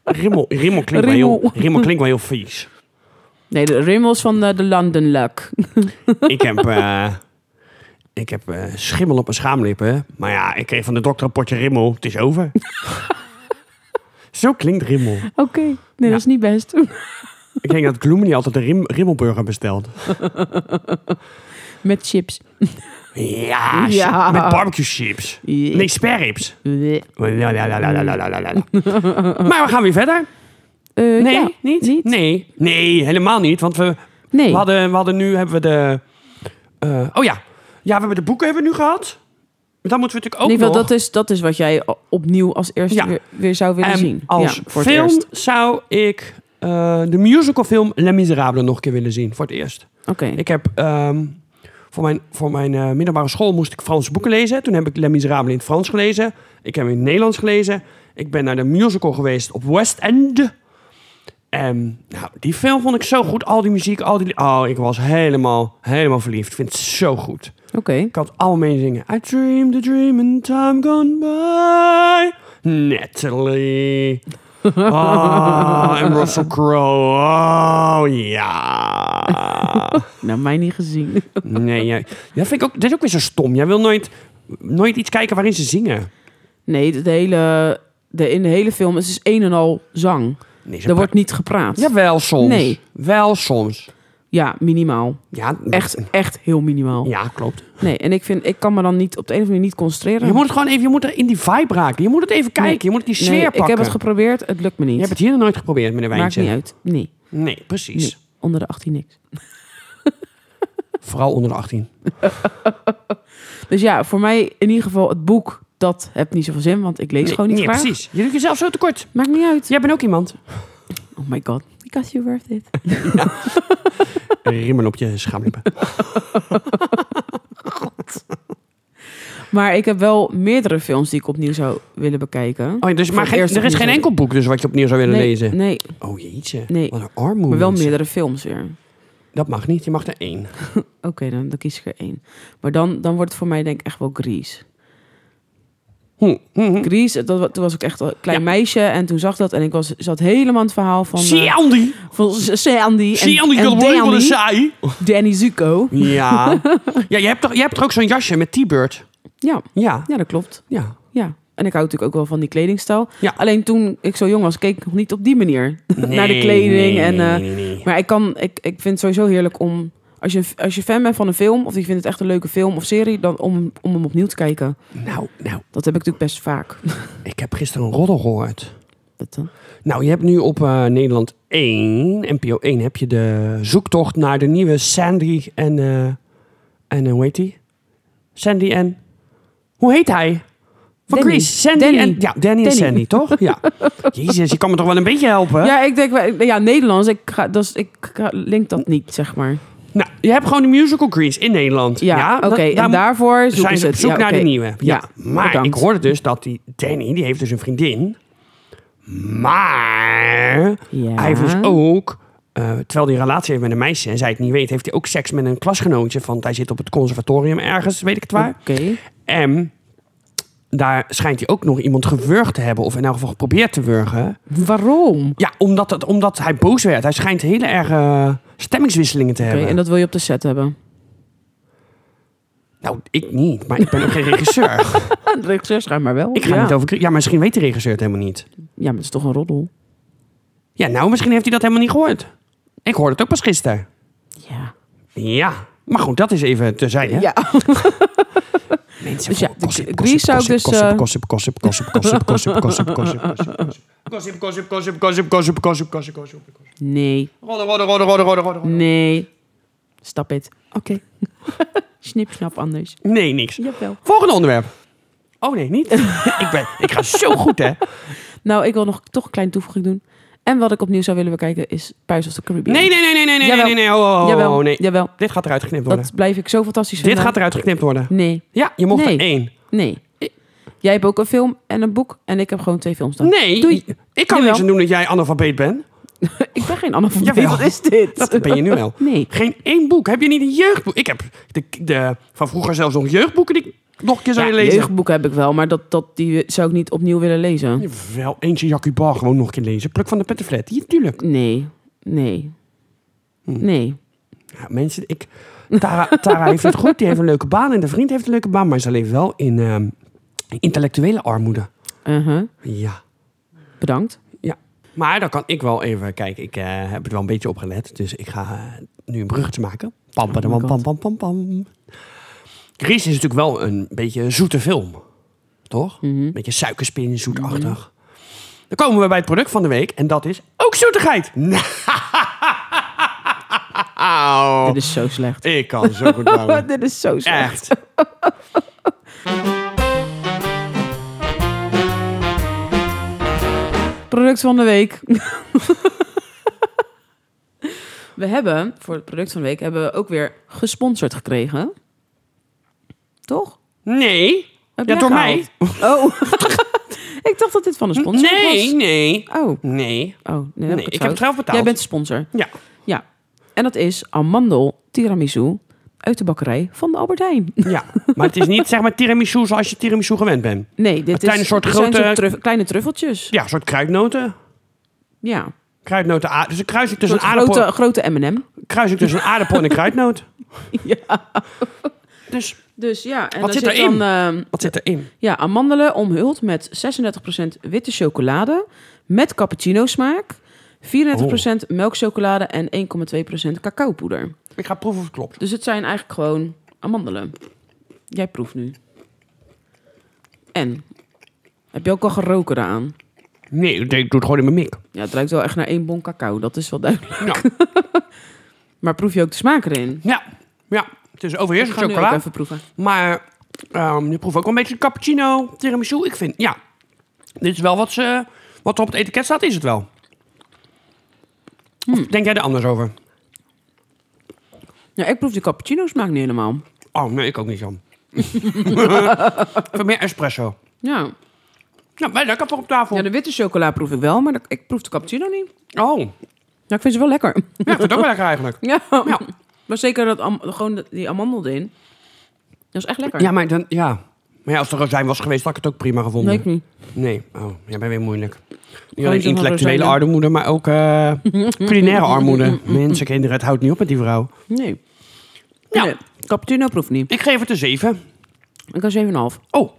S1: Rimmel, Rimmel, klinkt wel heel,
S2: Rimmel.
S1: Rimmel klinkt wel heel vies.
S2: Nee, de Rimmel is van eh, de London Luck.
S1: Ik heb, eh, ik heb eh, schimmel op mijn schaamlippen. Maar ja, ik kreeg van de dokter een potje Rimmel. Het is over. Zo klinkt Rimmel.
S2: Oké, nee, dat is niet best.
S1: Ik denk dat Gloemen niet altijd de Rim, Rimmelburger bestelt.
S2: Met chips.
S1: Ja,
S2: Ja.
S1: met barbecue chips. Nee, sperrips.
S2: Eh,
S1: Maar we gaan weer verder. Nee,
S2: Eh, ja,
S1: niet?
S2: niet?
S1: Nee. nee, helemaal niet. Want we,
S2: Nee.
S1: we, hadden, we hadden nu hebben we de. eh, oh ja. ja, we hebben de boeken hebben we nu gehad. Dan moeten we natuurlijk ook
S2: Nee, want
S1: nog.
S2: dat is, dat is wat jij opnieuw als eerste
S1: Ja.
S2: weer, weer zou willen
S1: En
S2: zien.
S1: als
S2: Ja, voor het
S1: film
S2: eerst.
S1: zou ik eh, de musicalfilm Les Miserables nog een keer willen zien voor het eerst.
S2: Oké.
S1: Ik heb ehm, voor mijn, voor mijn eh, middelbare school moest ik Franse boeken lezen. Toen heb ik Les Miserables in het Frans gelezen. Ik heb hem in het Nederlands gelezen. Ik ben naar de musical geweest op West End. En nou, die film vond ik zo goed. Al die muziek, al die... Oh, ik was helemaal, helemaal verliefd. Ik vind het zo goed.
S2: Oké.
S1: Ik kan het allemaal meezingen. I dreamed a dream in time gone by. Natalie. Ah, en Russell Crowe. Oh, ja.
S2: Nou, mij niet gezien.
S1: Nee, ja. dat vind ik ook. Dit is ook weer zo stom. Jij wil nooit, nooit iets kijken waarin ze zingen.
S2: Nee, de, de hele, de, in de hele film het is een en al zang.
S1: Nee, ze
S2: Er wordt niet gepraat.
S1: pra- Jawel, soms.
S2: Nee.
S1: Wel soms.
S2: Ja, minimaal.
S1: Ja,
S2: Echt, echt heel minimaal.
S1: Ja, klopt.
S2: Nee, en ik, vind, ik kan me dan niet op de een of andere manier niet concentreren.
S1: Je moet het gewoon even. Je moet er in die vibe raken. Je moet het even kijken. Je moet die sfeer
S2: nee,
S1: pakken.
S2: ik heb het geprobeerd, het lukt me niet.
S1: Je hebt het hier nog nooit geprobeerd met een
S2: Maakt
S1: wijntje.
S2: niet uit. Nee,
S1: Nee, precies.
S2: nee, onder de 18 niks.
S1: Vooral onder de 18.
S2: Dus ja, voor mij in ieder geval het boek, dat heeft niet zoveel zin, want ik lees
S1: Nee,
S2: gewoon niet
S1: nee,
S2: graag.
S1: precies. Je doet jezelf zo tekort.
S2: Maakt niet uit.
S1: Jij bent ook iemand.
S2: Oh my god. Because you worth it.
S1: Rimmen op je schaamlippen.
S2: Maar ik heb wel meerdere films die ik opnieuw zou willen bekijken.
S1: Oh, ja, dus,
S2: Voor
S1: maar
S2: het
S1: geen-
S2: eerst
S1: er is geen
S2: opnieuw.
S1: enkel boek dus wat je opnieuw zou willen
S2: nee,
S1: lezen.
S2: Nee,
S1: Oh jeetje.
S2: Nee.
S1: Wat een armoe.
S2: maar wel
S1: mensen.
S2: meerdere films weer.
S1: Dat mag niet. Je mag er één.
S2: Oké, dan, dan kies ik er één. Maar dan, dan wordt het voor mij denk ik echt wel Grease.
S1: Hm, hm, hm.
S2: Gries, dat, wa- toen was ik echt een klein
S1: Ja.
S2: meisje en toen zag dat en ik was, zat helemaal in het verhaal van, eh,
S1: Sandy!
S2: van S- Sandy en,
S1: Sandy,
S2: en
S1: dat wordt wel een
S2: Danny,
S1: saai.
S2: Danny Zuko.
S1: Ja. ja, je hebt toch, je hebt toch ook zo'n jasje met T-Bird?
S2: Ja,
S1: Ja.
S2: ja, dat klopt.
S1: Ja.
S2: Ja. En ik hou natuurlijk ook wel van die kledingstijl.
S1: Ja.
S2: Alleen toen ik zo jong was, keek ik nog niet op die manier naar de
S1: Nee,
S2: kleding.
S1: nee,
S2: en,
S1: nee,
S2: eh,
S1: nee, nee.
S2: Maar ik, kan, ik, ik vind het sowieso heerlijk om... Als je, als je fan bent van een film, of je vindt het echt een leuke film of serie... dan om, om hem opnieuw te kijken.
S1: Nou, nou,
S2: Dat heb ik natuurlijk best vaak.
S1: ik heb gisteren een roddel gehoord.
S2: Dat dan.
S1: Nou, je hebt nu op eh, Nederland 1, NPO 1, heb je de zoektocht naar de nieuwe Sandy en... eh, en eh, hoe heet die? Sandy en... Hoe heet hij? Van
S2: Danny.
S1: Chris. Sandy
S2: Danny.
S1: en... Ja, Danny, en
S2: Danny.
S1: Sandy, toch? Ja. Jezus, je kan me toch wel een beetje helpen?
S2: Ja, ik denk... wel- Ja, Nederlands. Ik, ga, dus, ik ga- link dat niet, zeg maar.
S1: Nou, je hebt gewoon de musical Greens in Nederland.
S2: Ja, oké.
S1: dat-
S2: en
S1: daar
S2: daarvoor
S1: zijn
S2: zoeken ze
S1: ze op
S2: het.
S1: zoek
S2: Ja,
S1: naar de
S2: oké.
S1: nieuwe. Ja,
S2: Ja,
S1: maar
S2: bedankt.
S1: ik hoorde dus dat die Danny, die heeft dus een vriendin. Maar
S2: Ja.
S1: hij heeft dus ook, eh, terwijl hij een relatie heeft met een meisje en zij het niet weet, heeft hij ook seks met een klasgenootje. Van, hij zit op het conservatorium ergens, weet ik het waar.
S2: Oké.
S1: En daar schijnt hij ook nog iemand gewurgd te hebben, of in elk geval geprobeerd te wurgen.
S2: Waarom?
S1: Ja, omdat, het, omdat hij boos werd. Hij schijnt hele erge stemmingswisselingen te
S2: Oké,
S1: hebben.
S2: en dat wil je op de set hebben.
S1: Nou, ik niet, maar ik ben ook geen regisseur.
S2: De regisseur schrijft maar wel.
S1: ik ga
S2: ja.
S1: niet over. Ja, maar misschien weet de regisseur het helemaal niet.
S2: Ja, maar het is toch een roddel.
S1: Ja, nou, misschien heeft hij dat helemaal niet gehoord. Ik hoorde het ook pas gisteren.
S2: Ja.
S1: Ja. Maar goed, dat is even te zijn, hè?
S2: Ja.
S1: Mensen,
S2: Dus ja,
S1: gossip, gossip,
S2: Grease
S1: gossip,
S2: zou ik dus,
S1: gossip,
S2: eh,
S1: gossip, gossip, gossip, gossip, gossip, gossip, gossip, gossip, gossip, gossip, gossip, gossip, gossip, gossip, gossip, gossip.
S2: eh, Nee.
S1: Rodden, rodden, rodden, rodden, rodden, rodden.
S2: Nee. Stap het.
S1: Oké.
S2: Snip, snap anders.
S1: Nee, niks.
S2: Jawel.
S1: Volgende onderwerp. Oh nee, niet. ik, ben, ik ga zo goed, hè?
S2: Nou, ik wil nog toch een kleine toevoeging doen. En wat ik opnieuw zou willen bekijken is Pirates of the Caribbean.
S1: Nee, nee, nee, nee, nee, nee,
S2: Jawel.
S1: nee, nee. Oh, oh, oh,
S2: jawel,
S1: nee.
S2: jawel.
S1: Dit gaat eruit geknipt worden.
S2: Dat blijf ik zo fantastisch
S1: Dit
S2: vinden.
S1: gaat eruit geknipt worden.
S2: Nee,
S1: Ja, je mocht
S2: Nee.
S1: er één.
S2: nee. Jij hebt ook een film en een boek en ik heb gewoon twee films dan.
S1: Nee,
S2: Doei.
S1: ik kan
S2: Jawel.
S1: niks aan doen dat jij analfabeet bent.
S2: Ik ben geen analfabeet.
S1: Jawel.
S2: Wat is dit?
S1: Dat ben je nu wel.
S2: Nee.
S1: Geen één boek. Heb je niet een jeugdboek? Ik heb de, de, van vroeger zelfs nog jeugdboeken die ik nog een keer zou
S2: Ja,
S1: lezen.
S2: jeugdboeken heb ik wel, maar dat, dat, die zou ik niet opnieuw willen lezen.
S1: Wel, eentje Jackie Bar gewoon nog een keer lezen. Pluk van de Pettenflat. Ja, tuurlijk.
S2: Nee, nee, nee.
S1: Ja, mensen, ik... Tara, Tara heeft het goed. Die heeft een leuke baan. En de vriend heeft een leuke baan. Maar ze leeft wel in ehm, intellectuele armoede.
S2: Uh-huh.
S1: Ja.
S2: Bedankt.
S1: Ja. Maar dan kan ik wel even kijken. Ik eh, heb het wel een beetje opgelet. Dus ik ga eh, nu een bruggetje maken. Pam, pam,
S2: Oh my
S1: pam, pam, pam, pam, pam. Grease is natuurlijk wel een beetje een zoete film. Toch?
S2: Mhm.
S1: Een beetje suikerspin, zoetachtig. Dan komen we bij het product van de week. En dat is ook zoetigheid. Nou,
S2: Dit is zo slecht.
S1: ik kan zo goed bouwen.
S2: Oh. Dit is zo slecht.
S1: Echt.
S2: Product van de week. we hebben voor het product van de week hebben we ook weer gesponsord gekregen. Toch?
S1: Nee.
S2: Heb
S1: Ja,
S2: jij
S1: door
S2: gehaald? Oh. ik dacht dat dit van een sponsor
S1: Nee,
S2: was.
S1: nee.
S2: Oh, oh,
S1: Nee.
S2: nee, dan
S1: Nee,
S2: heb ik, het
S1: ik heb
S2: fout.
S1: het zelf betaald.
S2: Jij bent sponsor.
S1: Ja.
S2: Ja. En dat is amandel tiramisu uit de bakkerij van de Albert Heijn.
S1: Ja, maar het is niet zeg maar tiramisu zoals je tiramisu gewend bent.
S2: Nee, dit
S1: kleine
S2: is
S1: soort
S2: dit zijn
S1: grote-
S2: zo'n truf- kleine truffeltjes.
S1: Ja, een soort kruidnoten.
S2: Ja.
S1: Kruidnoten, a- dus een kruising
S2: Een
S1: tussen, een aardappel,
S2: grote, grote M&M.
S1: kruising tussen een aardappel en een kruidnoot. Dus
S2: Dus ja, en
S1: Wat
S2: daar
S1: zit
S2: zit
S1: erin?
S2: dan ehm,
S1: wat zit erin?
S2: Ja, amandelen omhuld met 36% witte chocolade met cappuccino smaak, 34%
S1: Oh.
S2: melkchocolade en 1,2% cacaopoeder.
S1: Ik ga proeven of het klopt.
S2: Dus het zijn eigenlijk gewoon amandelen. Jij proeft nu. En? Heb je ook al geroken eraan?
S1: Nee, ik doe het gewoon in mijn mik.
S2: Ja, het ruikt wel echt naar één bon cacao, dat is wel duidelijk.
S1: Ja,
S2: Maar proef je ook de smaak erin?
S1: ja, ja. het is
S2: Ik
S1: overheersend
S2: ga nu ook
S1: chocola.
S2: even proeven.
S1: Maar ehm, je proeft ook wel een beetje de cappuccino, tiramisu. Ik vind, ja, dit is wel wat, ze, wat er op het etiket staat, is het wel.
S2: Hmm.
S1: Of denk jij er anders over?
S2: Ja, ik proef de cappuccino smaak niet helemaal.
S1: Oh, nee, ik ook niet, Jan. Voor meer espresso.
S2: Ja.
S1: Nou, wij lekker voor op tafel.
S2: ja, de witte chocola proef ik wel, maar de- ik proef de cappuccino niet.
S1: Oh, ja,
S2: Ja, ik vind ze wel lekker.
S1: ik vind het ook wel lekker eigenlijk.
S2: Ja. Maar zeker dat am- gewoon de- die amandel erin. Dat is echt lekker.
S1: Ja, maar dan, ja. Maar ja, als er rozijn was geweest, had ik het ook prima gevonden.
S2: Weet ik niet.
S1: Nee, oh, jij bent weer moeilijk. Niet
S2: Kan je
S1: alleen
S2: zo van
S1: intellectuele
S2: rozijnen?
S1: armoede, maar ook eh, culinaire armoede. Mensen, kinderen, het houdt niet op met die vrouw.
S2: Nee.
S1: Ja.
S2: Nee, Cappuccino proeft niet.
S1: Ik geef het een 7.
S2: Ik was 7,5. Nou,
S1: Oh,
S2: nou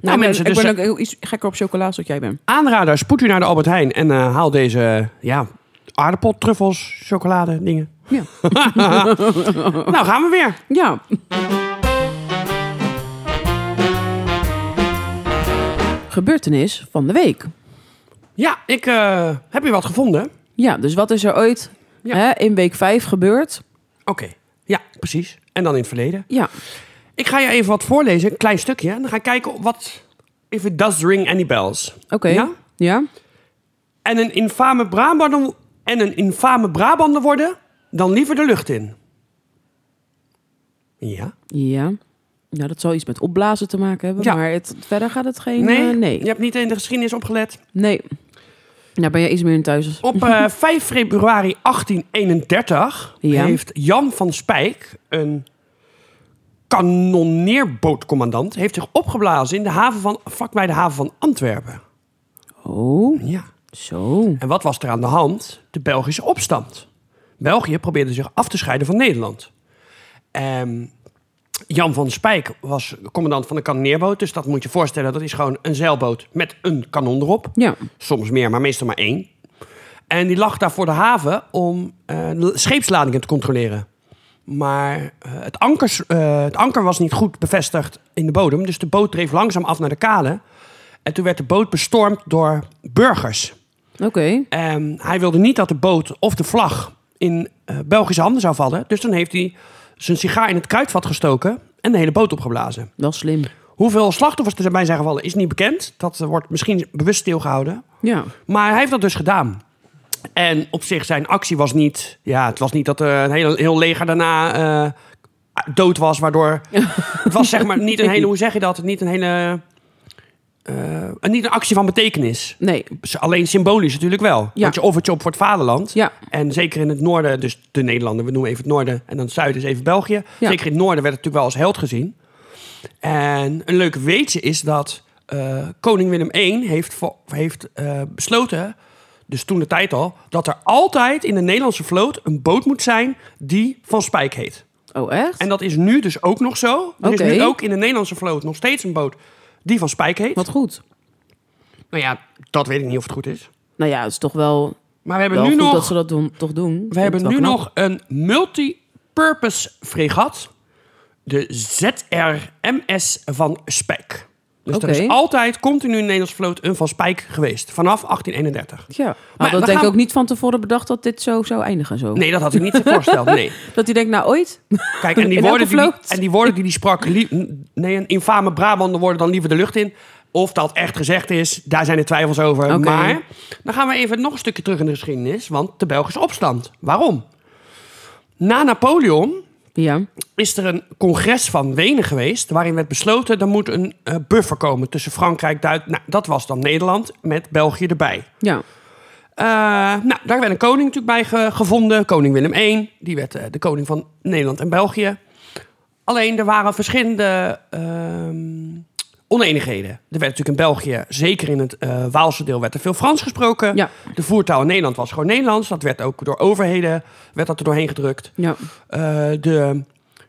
S1: mensen,
S2: mensen, ik
S1: dus-
S2: ben ook heel iets gekker op chocolaas dan jij bent.
S1: aanrader, spoed u naar de Albert Heijn en eh, haal deze ja, aardappel, truffels, chocolade, dingen.
S2: Ja.
S1: nou, gaan we weer.
S2: ja. Gebeurtenis van de week.
S1: Ja, ik eh, heb je wat gevonden. Oké,
S2: Ja, dus wat is er ooit
S1: Ja.
S2: hè, in week 5 gebeurd?
S1: ja, precies. En dan in het verleden.
S2: Ja,
S1: Ik ga je even wat voorlezen, een klein stukje. En dan ga ik kijken wat... If it does ring any bells.
S2: oké.
S1: Ja?
S2: Ja?
S1: En een infame Brabander, en een infame Brabander worden... dan liever de lucht in. Ja?
S2: Ja. Ja, dat zal iets met opblazen te maken hebben.
S1: Ja.
S2: Maar het, verder gaat het geen...
S1: Nee?
S2: eh, nee.
S1: Je hebt niet in de geschiedenis opgelet.
S2: Nee. Daar ben je iets meer in thuis.
S1: Op eh, 5 februari 1831
S2: Ja.
S1: heeft Jan van Spijk, een kanonneerbootcommandant, heeft zich opgeblazen in de haven van, vlakbij de haven van Antwerpen.
S2: Oh,
S1: Ja.
S2: zo.
S1: En wat was er aan de hand? De Belgische opstand. België probeerde zich af te scheiden van Nederland. Ehm, Jan van Spijk was commandant van de kanonneerboot, dus dat moet je voorstellen. Dat is gewoon een zeilboot met een kanon erop.
S2: Ja.
S1: Soms meer, maar meestal maar één. En die lag daar voor de haven om eh, de scheepsladingen te controleren. Maar eh, het, ankers, eh, het anker was niet goed bevestigd in de bodem. Dus de boot dreef langzaam af naar de kade. En toen werd de boot bestormd door burgers.
S2: Oké.
S1: Ehm, hij wilde niet dat de boot of de vlag in eh, Belgische handen zou vallen. Dus dan heeft hij zijn sigaar in het kruidvat gestoken en de hele boot opgeblazen.
S2: Wel slim.
S1: Hoeveel slachtoffers erbij zijn gevallen is niet bekend. Dat eh, wordt misschien bewust stilgehouden.
S2: Ja.
S1: Maar hij heeft dat dus gedaan. En op zich, zijn actie was niet... Ja, het was niet dat er een heel, heel leger daarna eh, dood was, waardoor... het was zeg maar niet een hele... Hoe zeg je dat? Niet een hele... eh, niet een actie van betekenis.
S2: Nee.
S1: S- Alleen symbolisch natuurlijk wel.
S2: Ja.
S1: Want je offert je op voor het vaderland.
S2: Ja.
S1: En zeker in het noorden, dus de Nederlanden, we noemen even het noorden. En dan het zuiden is even België.
S2: Ja.
S1: Zeker in het noorden werd het natuurlijk wel als held gezien. En een leuk weetje is dat eh, koning Willem I heeft, vo- heeft eh, besloten, dus toen de tijd al, dat er altijd in de Nederlandse vloot een boot moet zijn die van Spijk heet.
S2: Oh, echt?
S1: En dat is nu dus ook nog zo. Er
S2: Oké.
S1: is nu ook in de Nederlandse vloot nog steeds een boot die van Spijk heet.
S2: Wat goed.
S1: Nou ja, dat weet ik niet of het goed is.
S2: Nou ja, het is toch wel,
S1: Maar we hebben
S2: wel
S1: nu
S2: goed
S1: nog,
S2: dat ze dat doen, toch doen.
S1: we hebben nu nog een multipurpose fregat. De ZRMS van Spijk. Dus er is
S2: Oké.
S1: altijd continu in de Nederlandse vloot een van Spijk geweest. Vanaf 1831.
S2: Ja. Maar,
S1: Maar we
S2: dat denk ik
S1: gaan-
S2: ook niet van tevoren bedacht dat dit zo zou eindigen. Zo.
S1: Nee, dat had hij niet voorgesteld. Nee.
S2: Dat hij denkt, nou ooit?
S1: Kijk, en die,
S2: In elke
S1: woorden die, die-
S2: vloot.
S1: en die woorden die hij sprak... lie- nee, een infame Brabander worden dan liever de lucht in. Of dat echt gezegd is, daar zijn de twijfels over.
S2: Oké.
S1: Maar dan gaan we even nog een stukje terug in de geschiedenis. Want de Belgische opstand. Waarom? Na Napoleon
S2: Ja.
S1: is er een congres van Wenen geweest... waarin werd besloten, er moet een eh, buffer komen tussen Frankrijk, Duitsland... Nou, dat was dan Nederland, met België erbij.
S2: Ja.
S1: Eh, nou, daar werd een koning natuurlijk bij ge- gevonden. Koning Willem I. Die werd eh, de koning van Nederland en België. Alleen er waren verschillende ehm oneenigheden. Er werd natuurlijk in België, zeker in het eh, Waalse deel, werd er veel Frans gesproken.
S2: Ja.
S1: De voertaal in Nederland was gewoon Nederlands. Dat werd ook door overheden werd dat er doorheen gedrukt.
S2: Ja.
S1: Eh, de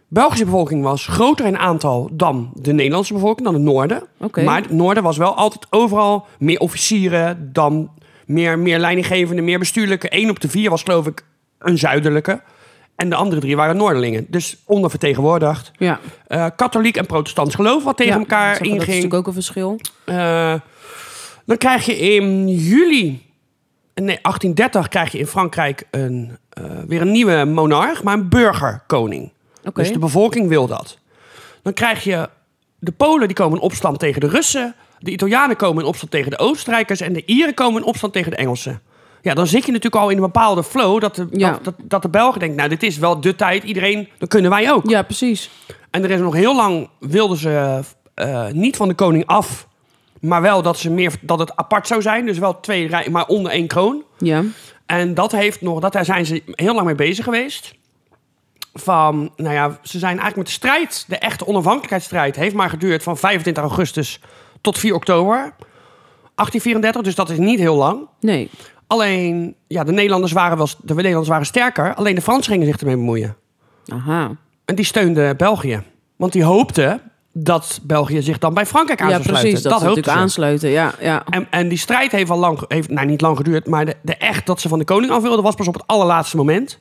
S1: Belgische bevolking was groter in aantal dan de Nederlandse bevolking, dan het noorden.
S2: Oké.
S1: Maar het noorden was wel altijd overal meer officieren dan meer, meer leidinggevende, meer bestuurlijke. Eén op de vier was geloof ik een zuidelijke. En de andere drie waren Noorderlingen. Dus ondervertegenwoordigd.
S2: Ja.
S1: Eh, katholiek en protestants geloof wat tegen
S2: Ja, dat is
S1: elkaar
S2: ook- Dat is
S1: inging.
S2: natuurlijk ook een verschil.
S1: Eh, dan krijg je in juli. Nee, 1830 krijg je in Frankrijk een, eh, weer een nieuwe monarch, maar een burgerkoning.
S2: Oké.
S1: Dus de bevolking wil dat. Dan krijg je de Polen die komen in opstand tegen de Russen. De Italianen komen in opstand tegen de Oostenrijkers. En de Ieren komen in opstand tegen de Engelsen. Ja, dan zit je natuurlijk al in een bepaalde flow. Dat de,
S2: Ja.
S1: dat, dat, dat de Belgen denken, nou dit is wel de tijd. Iedereen, dan kunnen wij ook.
S2: Ja, precies.
S1: En er is nog heel lang wilden ze eh, niet van de koning af. Maar wel dat, ze meer, dat het apart zou zijn. Dus wel twee rijen, maar onder één kroon.
S2: Ja.
S1: En dat heeft nog, dat, daar zijn ze heel lang mee bezig geweest. van, nou ja, ze zijn eigenlijk met de strijd, de echte onafhankelijkheidsstrijd, heeft maar geduurd van 25 augustus tot 4 oktober 1834. Dus dat is niet heel lang.
S2: Nee.
S1: Alleen, ja, de Nederlanders waren, wel, de Nederlanders waren sterker. Alleen de Fransen gingen zich ermee bemoeien.
S2: Aha.
S1: En die steunde België. Want die hoopte dat België zich dan bij Frankrijk aan
S2: Ja,
S1: zou
S2: precies.
S1: sluiten.
S2: Dat, ze
S1: hoopte
S2: natuurlijk
S1: ze.
S2: aansluiten. Ja, ja.
S1: En, en die strijd heeft al lang, heeft, nou niet lang geduurd, maar de, de echt dat ze van de koning af wilden was pas op het allerlaatste moment.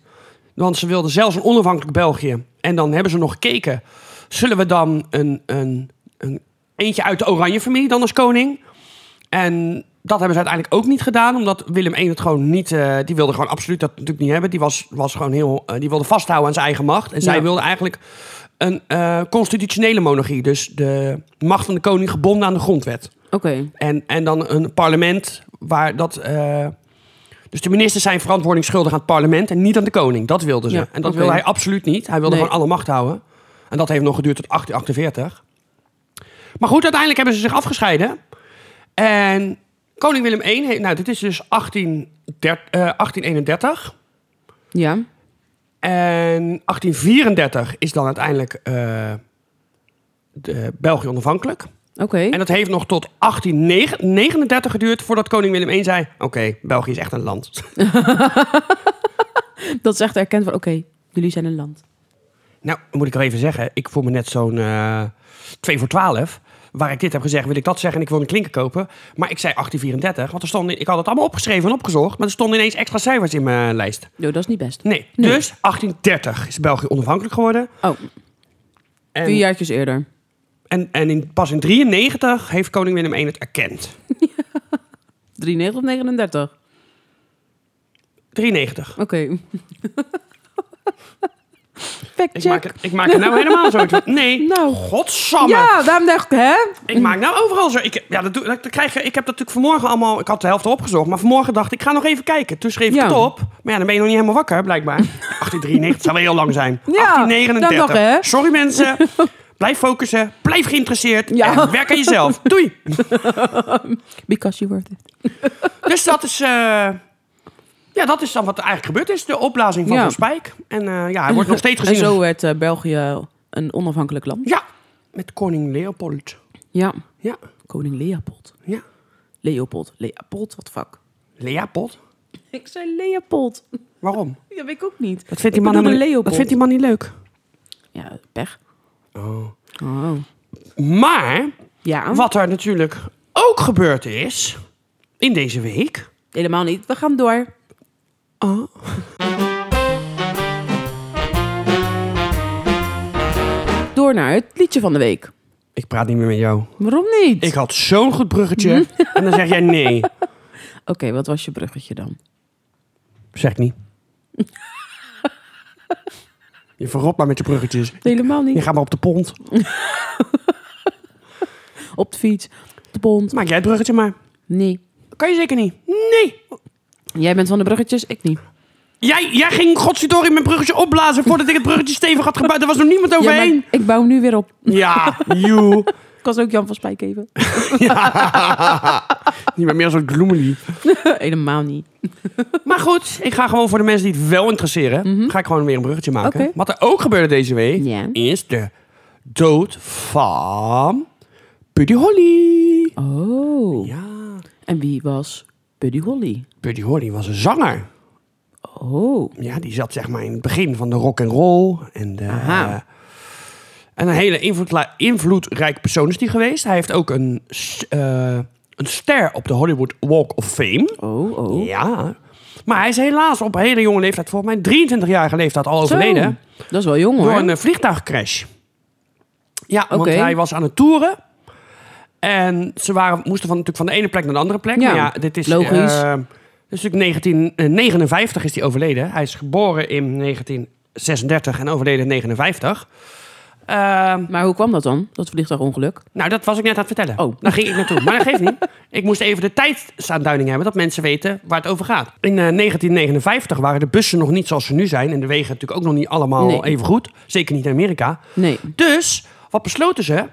S1: Want ze wilden zelfs een onafhankelijk België. En dan hebben ze nog gekeken, zullen we dan een, een, een eentje uit de Oranje-familie dan als koning? En dat hebben ze uiteindelijk ook niet gedaan, omdat Willem I het gewoon niet, eh, die wilde gewoon absoluut dat natuurlijk niet hebben. Die, was, was gewoon heel, eh, die wilde vasthouden aan zijn eigen macht. En zij
S2: Ja.
S1: wilde eigenlijk een eh, constitutionele monarchie, dus de macht van de koning gebonden aan de grondwet.
S2: Oké.
S1: En, en dan een parlement waar dat. eh, dus de ministers zijn verantwoording schuldig aan het parlement en niet aan de koning. Dat wilden ze.
S2: Ja,
S1: en dat
S2: oké.
S1: wilde hij absoluut niet. Hij wilde
S2: Nee.
S1: gewoon alle macht houden. En dat heeft nog geduurd tot 1848. Maar goed, uiteindelijk hebben ze zich afgescheiden. En koning Willem I, heeft- nou dit is dus 1830, eh, 1831.
S2: Ja.
S1: En 1834 is dan uiteindelijk eh, de België onafhankelijk.
S2: Oké.
S1: En dat heeft nog tot 1839 geduurd voordat koning Willem I zei... Oké, België is echt een land.
S2: Dat is echt erkend van, oké, jullie zijn een land.
S1: nou, moet ik wel even zeggen. Ik voel me net zo'n eh 2 voor 12. Waar ik dit heb gezegd, wil ik dat zeggen en ik wil een klinker kopen. Maar ik zei 1834, want er stonden, ik had het allemaal opgeschreven en opgezocht. Maar er stonden ineens extra cijfers in mijn lijst.
S2: Nou, dat is niet best.
S1: Nee,
S2: Nee.
S1: dus 1830 is België onafhankelijk geworden.
S2: Oh,
S1: En,
S2: vier jaartjes eerder.
S1: en, en in, pas in 93 heeft koning Willem I het erkend.
S2: 93 of 39?
S1: 93.
S2: Oké. Fact
S1: Ik
S2: check.
S1: maak, er- ik maak er nou helemaal zo... Nee,
S2: Nou.
S1: godsamme.
S2: Ja, daarom dacht ik, hè?
S1: Ik maak nou overal zo. Ik, ja, dat doe, dat, dat krijg je, ik heb dat natuurlijk vanmorgen allemaal. Ik had de helft opgezocht. Maar vanmorgen dacht ik, ik ga nog even kijken. Toen schreef ik
S2: Ja.
S1: het op. Maar ja, dan ben je nog niet helemaal wakker, blijkbaar. 1893 zou wel heel lang zijn.
S2: Ja,
S1: 1839.
S2: dan nog, hè?
S1: Sorry mensen. Blijf focussen. Blijf geïnteresseerd.
S2: Ja.
S1: En werk aan jezelf. Doei.
S2: Because you worth it.
S1: Dus dat is. eh, ja, dat is dan wat er eigenlijk gebeurd is. De opblazing van
S2: Ja.
S1: Van Spijk. En eh, ja, hij wordt nog steeds gezien.
S2: En
S1: als-
S2: zo werd eh, België een onafhankelijk land.
S1: Ja, met koning Leopold.
S2: Ja.
S1: Ja,
S2: Koning Leopold.
S1: ja.
S2: Leopold. Leopold, wat fuck.
S1: Leopold?
S2: Ik zei Leopold.
S1: Waarom?
S2: Dat weet ik ook niet.
S1: Dat vindt,
S2: Ik
S1: die man
S2: bedoelde
S1: helemaal niet- dat
S2: Leopold.
S1: vindt die man niet leuk.
S2: Ja, pech. Oh.
S1: Maar
S2: Ja,
S1: wat er natuurlijk ook gebeurd is in deze week.
S2: helemaal niet. We gaan door.
S1: Oh.
S2: Door naar het liedje van de week.
S1: Ik praat niet meer met jou.
S2: Waarom niet?
S1: Ik had zo'n goed bruggetje. en dan zeg jij nee.
S2: Oké, wat was je bruggetje dan?
S1: Zeg ik niet. Je verrot maar met je bruggetjes.
S2: Helemaal
S1: Je
S2: niet.
S1: gaat maar op de pont.
S2: Op de fiets, op de bond.
S1: Maak jij het bruggetje maar.
S2: Nee.
S1: Kan je zeker niet. Nee.
S2: Jij bent van de bruggetjes, ik niet.
S1: Jij, jij ging godsdorie mijn bruggetje opblazen voordat ik het bruggetje stevig had gebouwd. Er was nog niemand
S2: Ja,
S1: overheen.
S2: maar ik bouw hem nu weer op.
S1: Ja, you.
S2: Ik was ook Jan van Spijk even.
S1: Niet meer meer zo'n gloemelie.
S2: Helemaal niet.
S1: Maar goed, ik ga gewoon voor de mensen die het wel interesseren, ga ik gewoon weer een bruggetje maken.
S2: Mhm. Oké.
S1: Wat er ook gebeurde deze week,
S2: Ja.
S1: is de dood van Buddy Holly.
S2: Oh.
S1: Ja,
S2: En wie was Buddy Holly?
S1: Buddy Holly was een zanger.
S2: Oh.
S1: Ja, die zat zeg maar in het begin van de rock and roll en de,
S2: Aha.
S1: eh, en een hele invloedla- invloedrijk persoon is die geweest. Hij heeft ook een, s- eh, een ster op de Hollywood Walk of Fame.
S2: Oh, oh.
S1: Ja. Maar hij is helaas op hele jonge leeftijd, volgens mij 23-jarige leeftijd, al overleden.
S2: Zo. Dat is wel jong hoor.
S1: Door een eh, vliegtuigcrash. Ja,
S2: Oké.
S1: want hij was aan het toeren. En ze waren, moesten van, natuurlijk van de ene plek naar de andere plek.
S2: Ja,
S1: maar ja dit is...
S2: logisch.
S1: eh, dit is natuurlijk 1959 is hij overleden. Hij is geboren in 1936 en overleden in 59. Ehm,
S2: Maar hoe kwam dat dan? Dat vliegtuigongeluk?
S1: nou, dat was ik net aan het vertellen.
S2: Oh.
S1: Daar ging ik naartoe. Maar dat geeft niet. Ik moest even de tijdsaanduiding hebben, dat mensen weten waar het over gaat. In eh, 1959 waren de bussen nog niet zoals ze nu zijn. En de wegen natuurlijk ook nog niet allemaal
S2: Nee.
S1: even goed. Zeker niet in Amerika.
S2: Nee.
S1: Dus, wat besloten ze?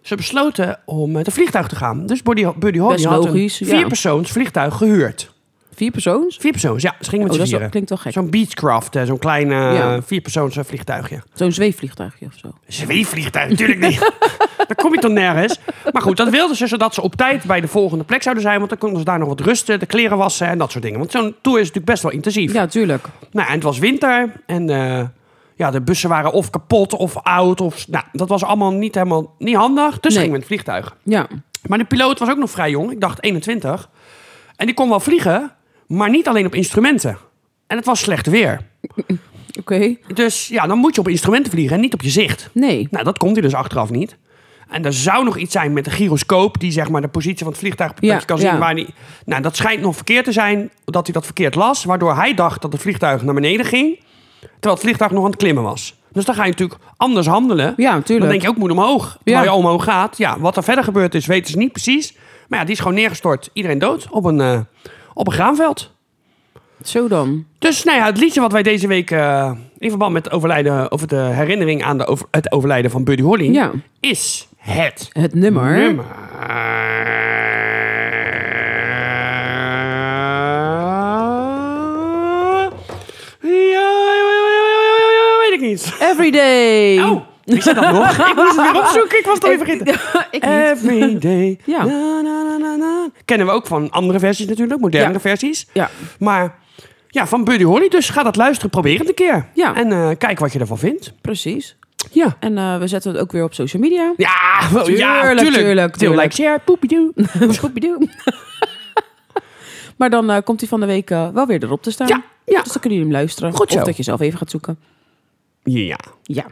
S1: Ze eh, besloten om met een vliegtuig te gaan. Dus Buddy, Buddy Holly
S2: Best
S1: had een
S2: logisch, ja.
S1: vierpersoons vliegtuig gehuurd.
S2: Vier persoons?
S1: Vier persoons, ja. Ze gingen met
S2: Oh, dat
S1: z'n
S2: is
S1: vieren.
S2: wel- klinkt wel gek.
S1: Zo'n Beechcraft, eh, zo'n klein eh,
S2: Ja.
S1: vierpersoons eh, vliegtuigje.
S2: Zo'n zweefvliegtuigje of zo.
S1: Zweefvliegtuig, natuurlijk niet. Daar kom je toch nergens. Maar goed, dat wilden ze zodat ze op tijd bij de volgende plek zouden zijn. Want dan konden ze daar nog wat rusten, de kleren wassen en dat soort dingen. Want zo'n tour is natuurlijk best wel intensief.
S2: Ja, tuurlijk.
S1: Nou, en het was winter en eh, ja, de bussen waren of kapot of oud. Of, nou, dat was allemaal niet helemaal niet handig. Dus
S2: Nee.
S1: gingen we in het vliegtuig.
S2: Ja.
S1: Maar de piloot was ook nog vrij jong. Ik dacht 21. En die kon wel vliegen, maar niet alleen op instrumenten. En het was slecht weer.
S2: Oké.
S1: Dus ja, dan moet je op instrumenten vliegen en niet op je zicht.
S2: Nee.
S1: Nou, dat komt hij dus achteraf niet. En er zou nog iets zijn met de gyroscoop, die zeg maar de positie van het vliegtuig dat
S2: Ja,
S1: je kan
S2: ja.
S1: zien waar die. Nou, dat schijnt nog verkeerd te zijn, dat hij dat verkeerd las, waardoor hij dacht dat het vliegtuig naar beneden ging, terwijl het vliegtuig nog aan het klimmen was. Dus dan ga je natuurlijk anders handelen.
S2: Ja, tuurlijk.
S1: Dan denk je ook moet omhoog. Terwijl
S2: Ja.
S1: je omhoog gaat. Ja, wat er verder gebeurd is, weten ze niet precies. Maar ja, die is gewoon neergestort. Iedereen dood op een, eh, op een graanveld.
S2: Zo dan.
S1: Dus nou ja, het liedje wat wij deze week eh, in verband met het overlijden, of de herinnering aan de over- het overlijden van Buddy Holly,
S2: Ja.
S1: is het
S2: Het nummer.
S1: nummer. Ja, weet ik niet.
S2: Everyday.
S1: Oh, wie zei dat nog? ik moest het weer opzoeken, ik was het alweer vergeten. Eh,
S2: Ik niet.
S1: Every day.
S2: Ja.
S1: Na, na, na, na, na. Kennen we ook van andere versies natuurlijk, modernere
S2: Ja.
S1: versies.
S2: Ja.
S1: Maar ja, van Buddy Holly. Dus ga dat luisteren. Probeer het een keer.
S2: Ja.
S1: En eh, kijk wat je ervan vindt.
S2: Precies.
S1: Ja.
S2: En eh, we zetten het ook weer op social media.
S1: Ja, wel, ja,
S2: Tuurlijk,
S1: tuurlijk.
S2: tuurlijk,
S1: Till
S2: tuurlijk.
S1: like, share, poepiedoe.
S2: Scooby-Doo. maar dan eh, komt hij van de week eh, wel weer erop te staan.
S1: Ja, ja.
S2: Dus dan kunnen jullie hem luisteren.
S1: Goed zo.
S2: Of dat je zelf even gaat zoeken.
S1: Ja.
S2: Ja.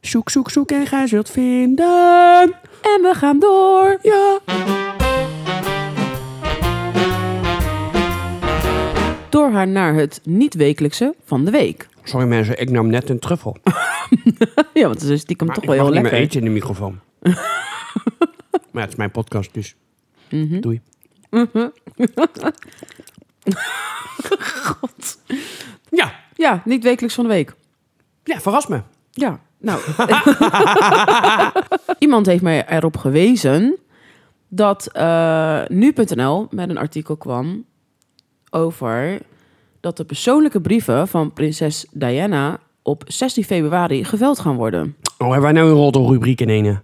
S1: Zoek, zoek, zoek en gij zult vinden.
S2: En we gaan door.
S1: Ja.
S2: Door haar naar het niet-wekelijkse van de week.
S1: Sorry mensen, ik nam net een truffel.
S2: Ja, want het is stiekem
S1: Maar
S2: toch
S1: ik
S2: wel
S1: mag
S2: heel
S1: niet
S2: lekker.
S1: meer eten in de microfoon. maar ja, het is mijn podcast, dus
S2: Mhm.
S1: doei. Ja.
S2: Ja, niet-wekelijks van de week.
S1: ja, verras me.
S2: Ja, nou. Iemand heeft mij erop gewezen dat eh, nu.nl met een artikel kwam over dat de persoonlijke brieven van prinses Diana op 16 februari geveld gaan worden.
S1: Oh, hebben wij nou een roddelrubriek in ene?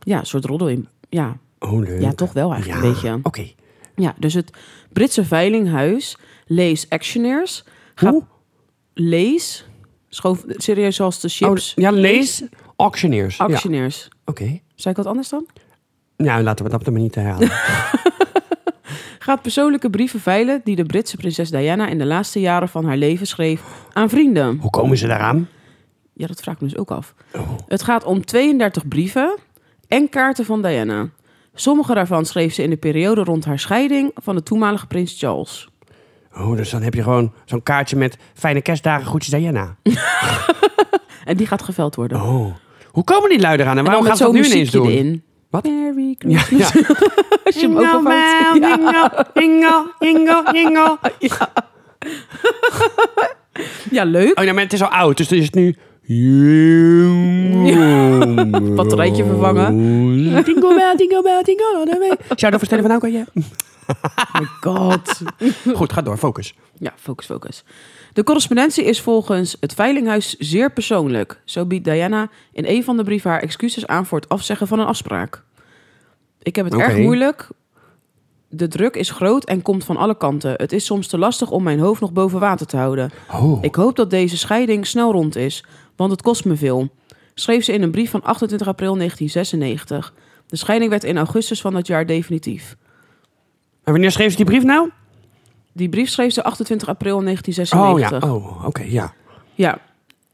S2: Ja, een soort roddel in. Ja,
S1: Oh, leuk.
S2: ja, toch wel eigenlijk
S1: Ja.
S2: een beetje.
S1: Oké.
S2: Ja, dus het Britse veilinghuis Lees Actioneers gaat
S1: Hoe?
S2: Lees, schoof, serieus zoals de
S1: Oh,
S2: chips,
S1: ja, lees. Auctioneers. Ja.
S2: Actioneers.
S1: Oké.
S2: Zei ik wat anders dan?
S1: Nou, laten we dat maar niet herhalen.
S2: gaat persoonlijke brieven veilen die de Britse prinses Diana in de laatste jaren van haar leven schreef aan vrienden.
S1: Hoe komen ze daaraan?
S2: Ja, dat vraag ik me dus ook af.
S1: Oh.
S2: Het gaat om 32 brieven en kaarten van Diana. Sommige daarvan schreef ze in de periode rond haar scheiding van de toenmalige prins Charles.
S1: Oh, dus dan heb je gewoon zo'n kaartje met fijne kerstdagen, groetjes nou. Diana.
S2: En die gaat geveld worden.
S1: Oh. Hoe komen die lui eraan en
S2: en
S1: waarom gaan ze dat nu ineens doen?
S2: in.
S1: Wat?
S2: Merry Christmas.
S1: Ja, Nou, ja.
S2: Als je hem ook al fout- Ja.
S1: Jingle, jingle, jingle.
S2: Ja, leuk.
S1: Oh, nou, maar het is al oud, dus dan is het nu... Jingle.
S2: Batterijtje vervangen.
S1: Jingle bell, jingle bell, jingle all the way. Zou dat verstellen van ook al je?
S2: Oh my god.
S1: Goed, ga door, focus.
S2: Ja, focus, focus. De correspondentie is volgens het Veilinghuis zeer persoonlijk. Zo biedt Diana in een van de brieven haar excuses aan voor het afzeggen van een afspraak. Ik heb het
S1: Oké.
S2: erg moeilijk. De druk is groot en komt van alle kanten. Het is soms te lastig om mijn hoofd nog boven water te houden.
S1: Oh.
S2: Ik hoop dat deze scheiding snel rond is, want het kost me veel. Schreef ze in een brief van 28 april 1996. De scheiding werd in augustus van dat jaar definitief.
S1: En wanneer schreef ze die brief nou?
S2: Die brief schreef ze 28 april
S1: Oh
S2: 1996.
S1: ja, oh, oké, ja.
S2: Ja.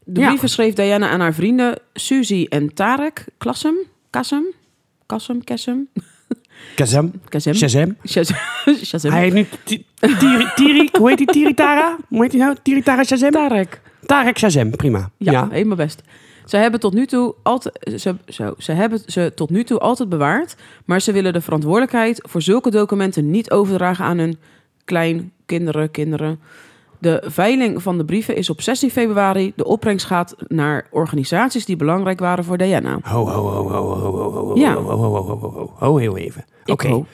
S2: De
S1: Ja.
S2: brieven schreef Diana aan haar vrienden Suzy en Tarek Klassem. Kassem? Kassem? Kessem?
S1: Kazem,
S2: Kassem?
S1: Shazam.
S2: Shazam. Shazam.
S1: Hij heet nu Ti- Tiri, Tiri, hoe heet die? Tiritara? Hoe heet die nou? Tiritara Shazam?
S2: Tarek.
S1: Tarek Shazam, prima.
S2: Ja, helemaal best. Ze hebben, tot nu toe altijd, ze, zo, ze hebben ze tot nu toe altijd bewaard, maar ze willen de verantwoordelijkheid voor zulke documenten niet overdragen aan hun kleinkinderen, kinderen. De veiling van de brieven is op 16 februari. De opbrengst gaat naar organisaties die belangrijk waren voor Diana.
S1: Ho, ho, ho, ho, ho, ho, ho, ho,
S2: Ja.
S1: ho, ho, ho, ho, ho, ho, ho, heel even. Oké,
S2: Ik hoop.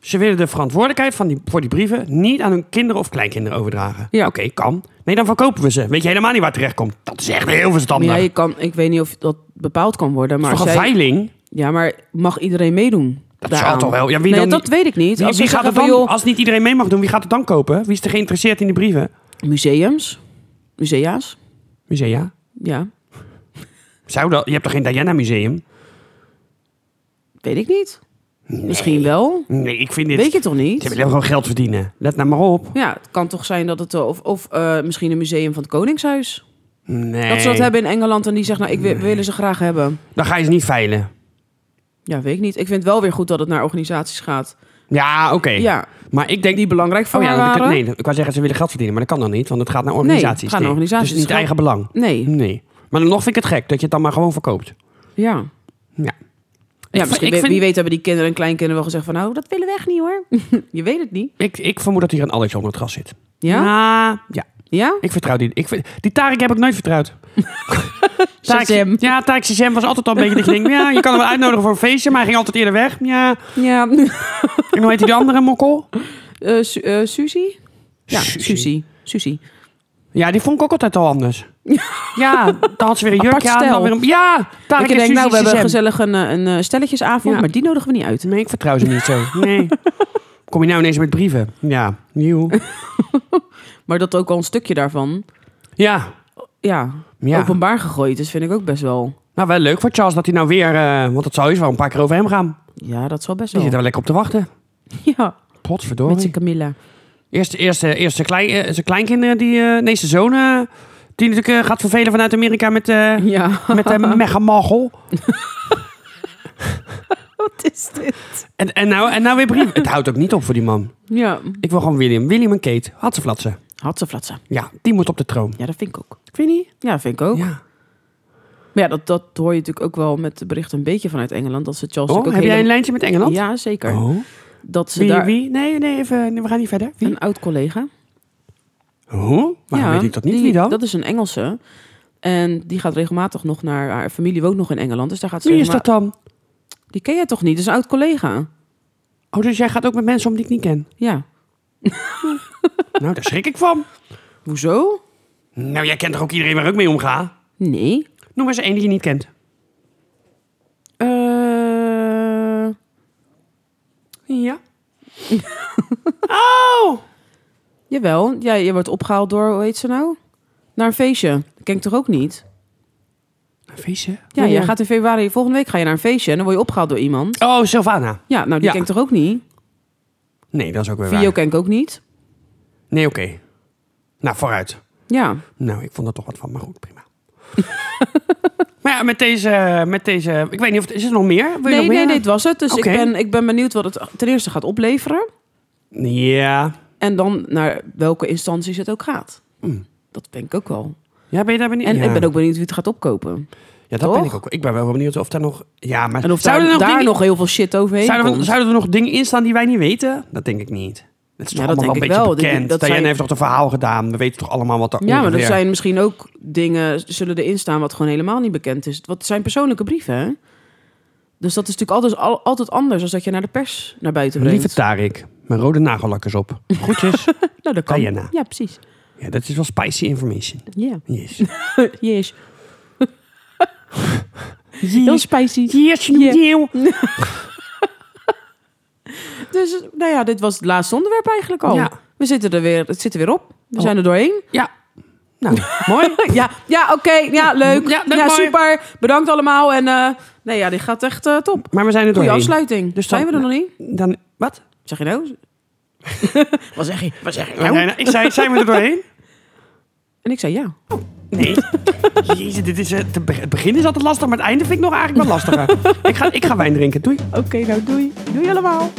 S1: Ze willen de verantwoordelijkheid van die, voor die brieven niet aan hun kinderen of kleinkinderen overdragen.
S2: Ja.
S1: Oké, kan. Nee, dan verkopen we ze. Weet je helemaal niet waar het terecht komt. Dat is echt heel verstandig.
S2: Ja, je kan, ik weet niet of dat bepaald kan worden. Maar
S1: Toch een
S2: als jij-
S1: veiling?
S2: Ja, maar mag iedereen meedoen?
S1: Dat
S2: daaraan?
S1: zal toch wel. Ja, wie
S2: nee,
S1: dan
S2: dat
S1: niet?
S2: weet ik niet.
S1: Wie,
S2: als
S1: wie
S2: ze
S1: gaat het
S2: zeggen
S1: dan,
S2: van,
S1: als niet iedereen mee mag doen, wie gaat het dan kopen? Wie is er geïnteresseerd in die brieven?
S2: joh, museums, musea's,
S1: Musea?
S2: ja,
S1: Zou dat? Je hebt toch geen Diana Museum?
S2: weet ik niet. Misschien wel.
S1: Nee, ik vind dit...
S2: Weet je toch
S1: Ze
S2: niet?
S1: willen gewoon geld verdienen. Let nou maar op.
S2: Ja, het kan toch zijn dat het... eh, Of, of eh, misschien een museum van het Koningshuis.
S1: Nee.
S2: Dat ze dat hebben in Engeland en die zegt... Nou, ik wil, willen ze graag hebben.
S1: Dan ga je ze niet veilen.
S2: Ja, weet ik niet. Ik vind wel weer goed dat het naar organisaties gaat.
S1: Ja, oké.
S2: Ja,
S1: Maar ik denk...
S2: die belangrijk voor
S1: Oh ja,
S2: haar
S1: dat-
S2: waren.
S1: nee, ik wou zeggen ze willen geld verdienen, maar dat kan dan niet, want het gaat naar
S2: het
S1: organisaties.
S2: gaat naar organisaties.
S1: Dus niet
S2: Het gaat-
S1: eigen belang.
S2: Nee,
S1: Nee. Maar dan nog vind ik het gek dat je het dan maar gewoon verkoopt.
S2: ja.
S1: Ja.
S2: Ja,
S1: Ik-
S2: misschien,
S1: ik
S2: wie-
S1: vind-
S2: wie weet hebben die kinderen en kleinkinderen wel gezegd van... Nou, dat willen we echt niet hoor. Je weet het niet.
S1: Ik, ik vermoed dat hier een Alex onder het gras zit.
S2: Ja?
S1: Ja, ja.
S2: Ja?
S1: Ik vertrouw die. Ik, ver- die Tarek heb ik nooit vertrouwd.
S2: Shazam.
S1: Ja, Tarek Shazam was altijd al een beetje dat je denkt... Ja, je kan hem wel uitnodigen voor een feestje, maar hij ging altijd eerder weg. Ja.
S2: Ja.
S1: En hoe heet die andere mokkel?
S2: Eh, Su eh, Suzy? Ja,
S1: Suzy.
S2: Suzy. Suzy.
S1: Ja, die vond ik ook altijd al anders. ja, dan had ze weer een
S2: Apart
S1: jurkje aan.
S2: stijl.
S1: Dan weer een, ja, Tarek
S2: ik
S1: en
S2: denk,
S1: Suzy
S2: nou, we hebben
S1: Shazam.
S2: gezellig een, eh, een eh, stelletjesavond,
S1: Ja.
S2: maar die nodigen we niet uit.
S1: Nee, ik vertrouw ze niet zo. Nee. Kom je nou ineens met brieven? Ja, nieuw.
S2: Maar dat ook al een stukje daarvan,
S1: Ja,
S2: ja,
S1: Ja.
S2: openbaar gegooid is, vind ik ook best wel.
S1: nou wel leuk voor Charles dat hij nou weer... eh, want het zou eens wel een paar keer over hem gaan.
S2: Ja, dat zal best
S1: Die zit
S2: wel.
S1: er wel lekker op te wachten.
S2: Ja,
S1: Potverdorie.
S2: Oh. met zijn Camilla.
S1: Eerst, eerst, eh, eerst zijn, klein, eh, zijn kleinkinderen, die, eh, nee, zijn zoon, eh, die natuurlijk eh, gaat vervelen vanuit Amerika met, eh
S2: Ja,
S1: met eh, megamachel.
S2: wat is dit?
S1: En, en, nou, en nou weer brief. Het houdt ook niet op voor die man.
S2: Ja,
S1: Ik wil gewoon William. William en Kate. Had ze flatsen.
S2: hatseflatsen.
S1: Ja, die moet op de troon.
S2: Ja, dat vind ik ook.
S1: Vind je niet?
S2: Ja, dat vind ik ook.
S1: Ja.
S2: Maar ja, dat, dat hoor je natuurlijk ook wel met de berichten een beetje vanuit Engeland. Dat ze Charles
S1: Oh, heb
S2: natuurlijk ook
S1: jij een lijntje
S2: helemaal-
S1: met Engeland?
S2: Ja, zeker.
S1: Oh.
S2: Dat ze
S1: Wie,
S2: daar...
S1: wie? Nee, nee, even, nee, we gaan niet verder. Wie?
S2: Een oud-collega.
S1: Hoe? Waarom
S2: Ja,
S1: weet ik dat niet?
S2: die-
S1: Wie dan?
S2: Dat is een Engelse. En die gaat regelmatig nog naar... Haar familie woont nog in Engeland, dus daar gaat ze...
S1: Wie is dat
S2: regelma-
S1: dan?
S2: Die ken jij toch niet? Dat is een oud-collega.
S1: Oh, dus jij gaat ook met mensen om die ik niet ken.
S2: Ja.
S1: nou, daar schrik ik van.
S2: Hoezo?
S1: Nou, jij kent toch ook iedereen waar ik mee omga?
S2: Nee.
S1: Noem eens één die je niet kent.
S2: Eh,
S1: Ja. oh!
S2: jawel. Ja, je wordt opgehaald door... Hoe heet ze nou? Naar een feestje. Dat ken ik toch ook niet?
S1: Een feestje?
S2: Ja, je gaat in februari... Volgende week ga je naar een feestje en dan word je opgehaald door iemand.
S1: Oh, Sylvana.
S2: Ja, nou, die
S1: Ja.
S2: ken ik toch ook niet?
S1: Nee, dat is ook weer
S2: Vio
S1: waar.
S2: ken ik ook niet.
S1: Nee, oké. Nou, vooruit.
S2: Ja.
S1: Nou, ik vond er toch wat van, maar goed, prima. maar ja, met deze, met deze... Ik weet niet of... Is er nog meer? Wil je
S2: Nee,
S1: nog
S2: nee,
S1: meer?
S2: nee, dit was het. Dus
S1: Oké.
S2: ik, ben, ik ben benieuwd wat het ten eerste gaat opleveren.
S1: Ja.
S2: En dan naar welke instanties het ook gaat. Dat denk ik ook wel.
S1: Ja, ben je daar benieuwd?
S2: En
S1: Hmm. ja.
S2: ik ben ook benieuwd wie het gaat opkopen.
S1: Ja, dat
S2: Toch?
S1: ben ik ook. Ik ben wel benieuwd of daar nog... Ja, maar
S2: En of
S1: zouden
S2: daar,
S1: er nog
S2: daar
S1: dingen-
S2: nog heel veel shit overheen
S1: Zouden, we-
S2: komt.
S1: zouden er nog dingen in staan die wij niet weten? Dat denk ik niet. Het is toch
S2: Ja,
S1: allemaal
S2: dat
S1: wel
S2: denk
S1: een
S2: ik
S1: beetje
S2: wel. Die-
S1: bekend.
S2: dat
S1: Diane
S2: zijn-
S1: heeft toch een verhaal gedaan. We weten toch allemaal wat er
S2: ja, maar dat
S1: ongeveer-
S2: zijn misschien ook dingen zullen erin staan wat gewoon helemaal niet bekend is. Wat zijn persoonlijke brieven, hè? Dus dat is natuurlijk altijd, al- altijd anders dan dat je naar de pers naar buiten brengt.
S1: Lieve Tarik, mijn rode nagellakkers op. Groetjes.
S2: nou, dat kan.
S1: Diana.
S2: Ja, precies.
S1: ja, dat is wel spicy information.
S2: Ja.
S1: Yes.
S2: Yes. Heel
S1: Yes,
S2: spicy.
S1: yes,
S2: Yeah.
S1: yes.
S2: Dus nou ja, dit was het laatste onderwerp eigenlijk al.
S1: Ja.
S2: We zitten er weer, het zit er weer op. We
S1: Oh.
S2: zijn er doorheen.
S1: Ja. Nou, mooi.
S2: Ja, ja oké. Ja, leuk.
S1: Ja,
S2: Ja,
S1: leuk, mooi.
S2: super. Bedankt allemaal. En eh, nee, ja, dit gaat echt eh, top.
S1: Maar we zijn er
S2: Goeie
S1: doorheen.
S2: afsluiting.
S1: Dus
S2: Dus
S1: dan-
S2: zijn we er nog niet?
S1: Dan, wat?
S2: Zeg je nou? Wat zeg je? Wat zeg je
S1: We
S2: nou?
S1: zijn er- ik zei, zijn we er doorheen?
S2: En ik zei ja.
S1: Nee. Jezus, dit is, het, het begin is altijd lastig, maar het einde vind ik nog eigenlijk wel lastiger. ik, ga, ik ga wijn drinken. Doei.
S2: Oké, nou doei. Doei allemaal.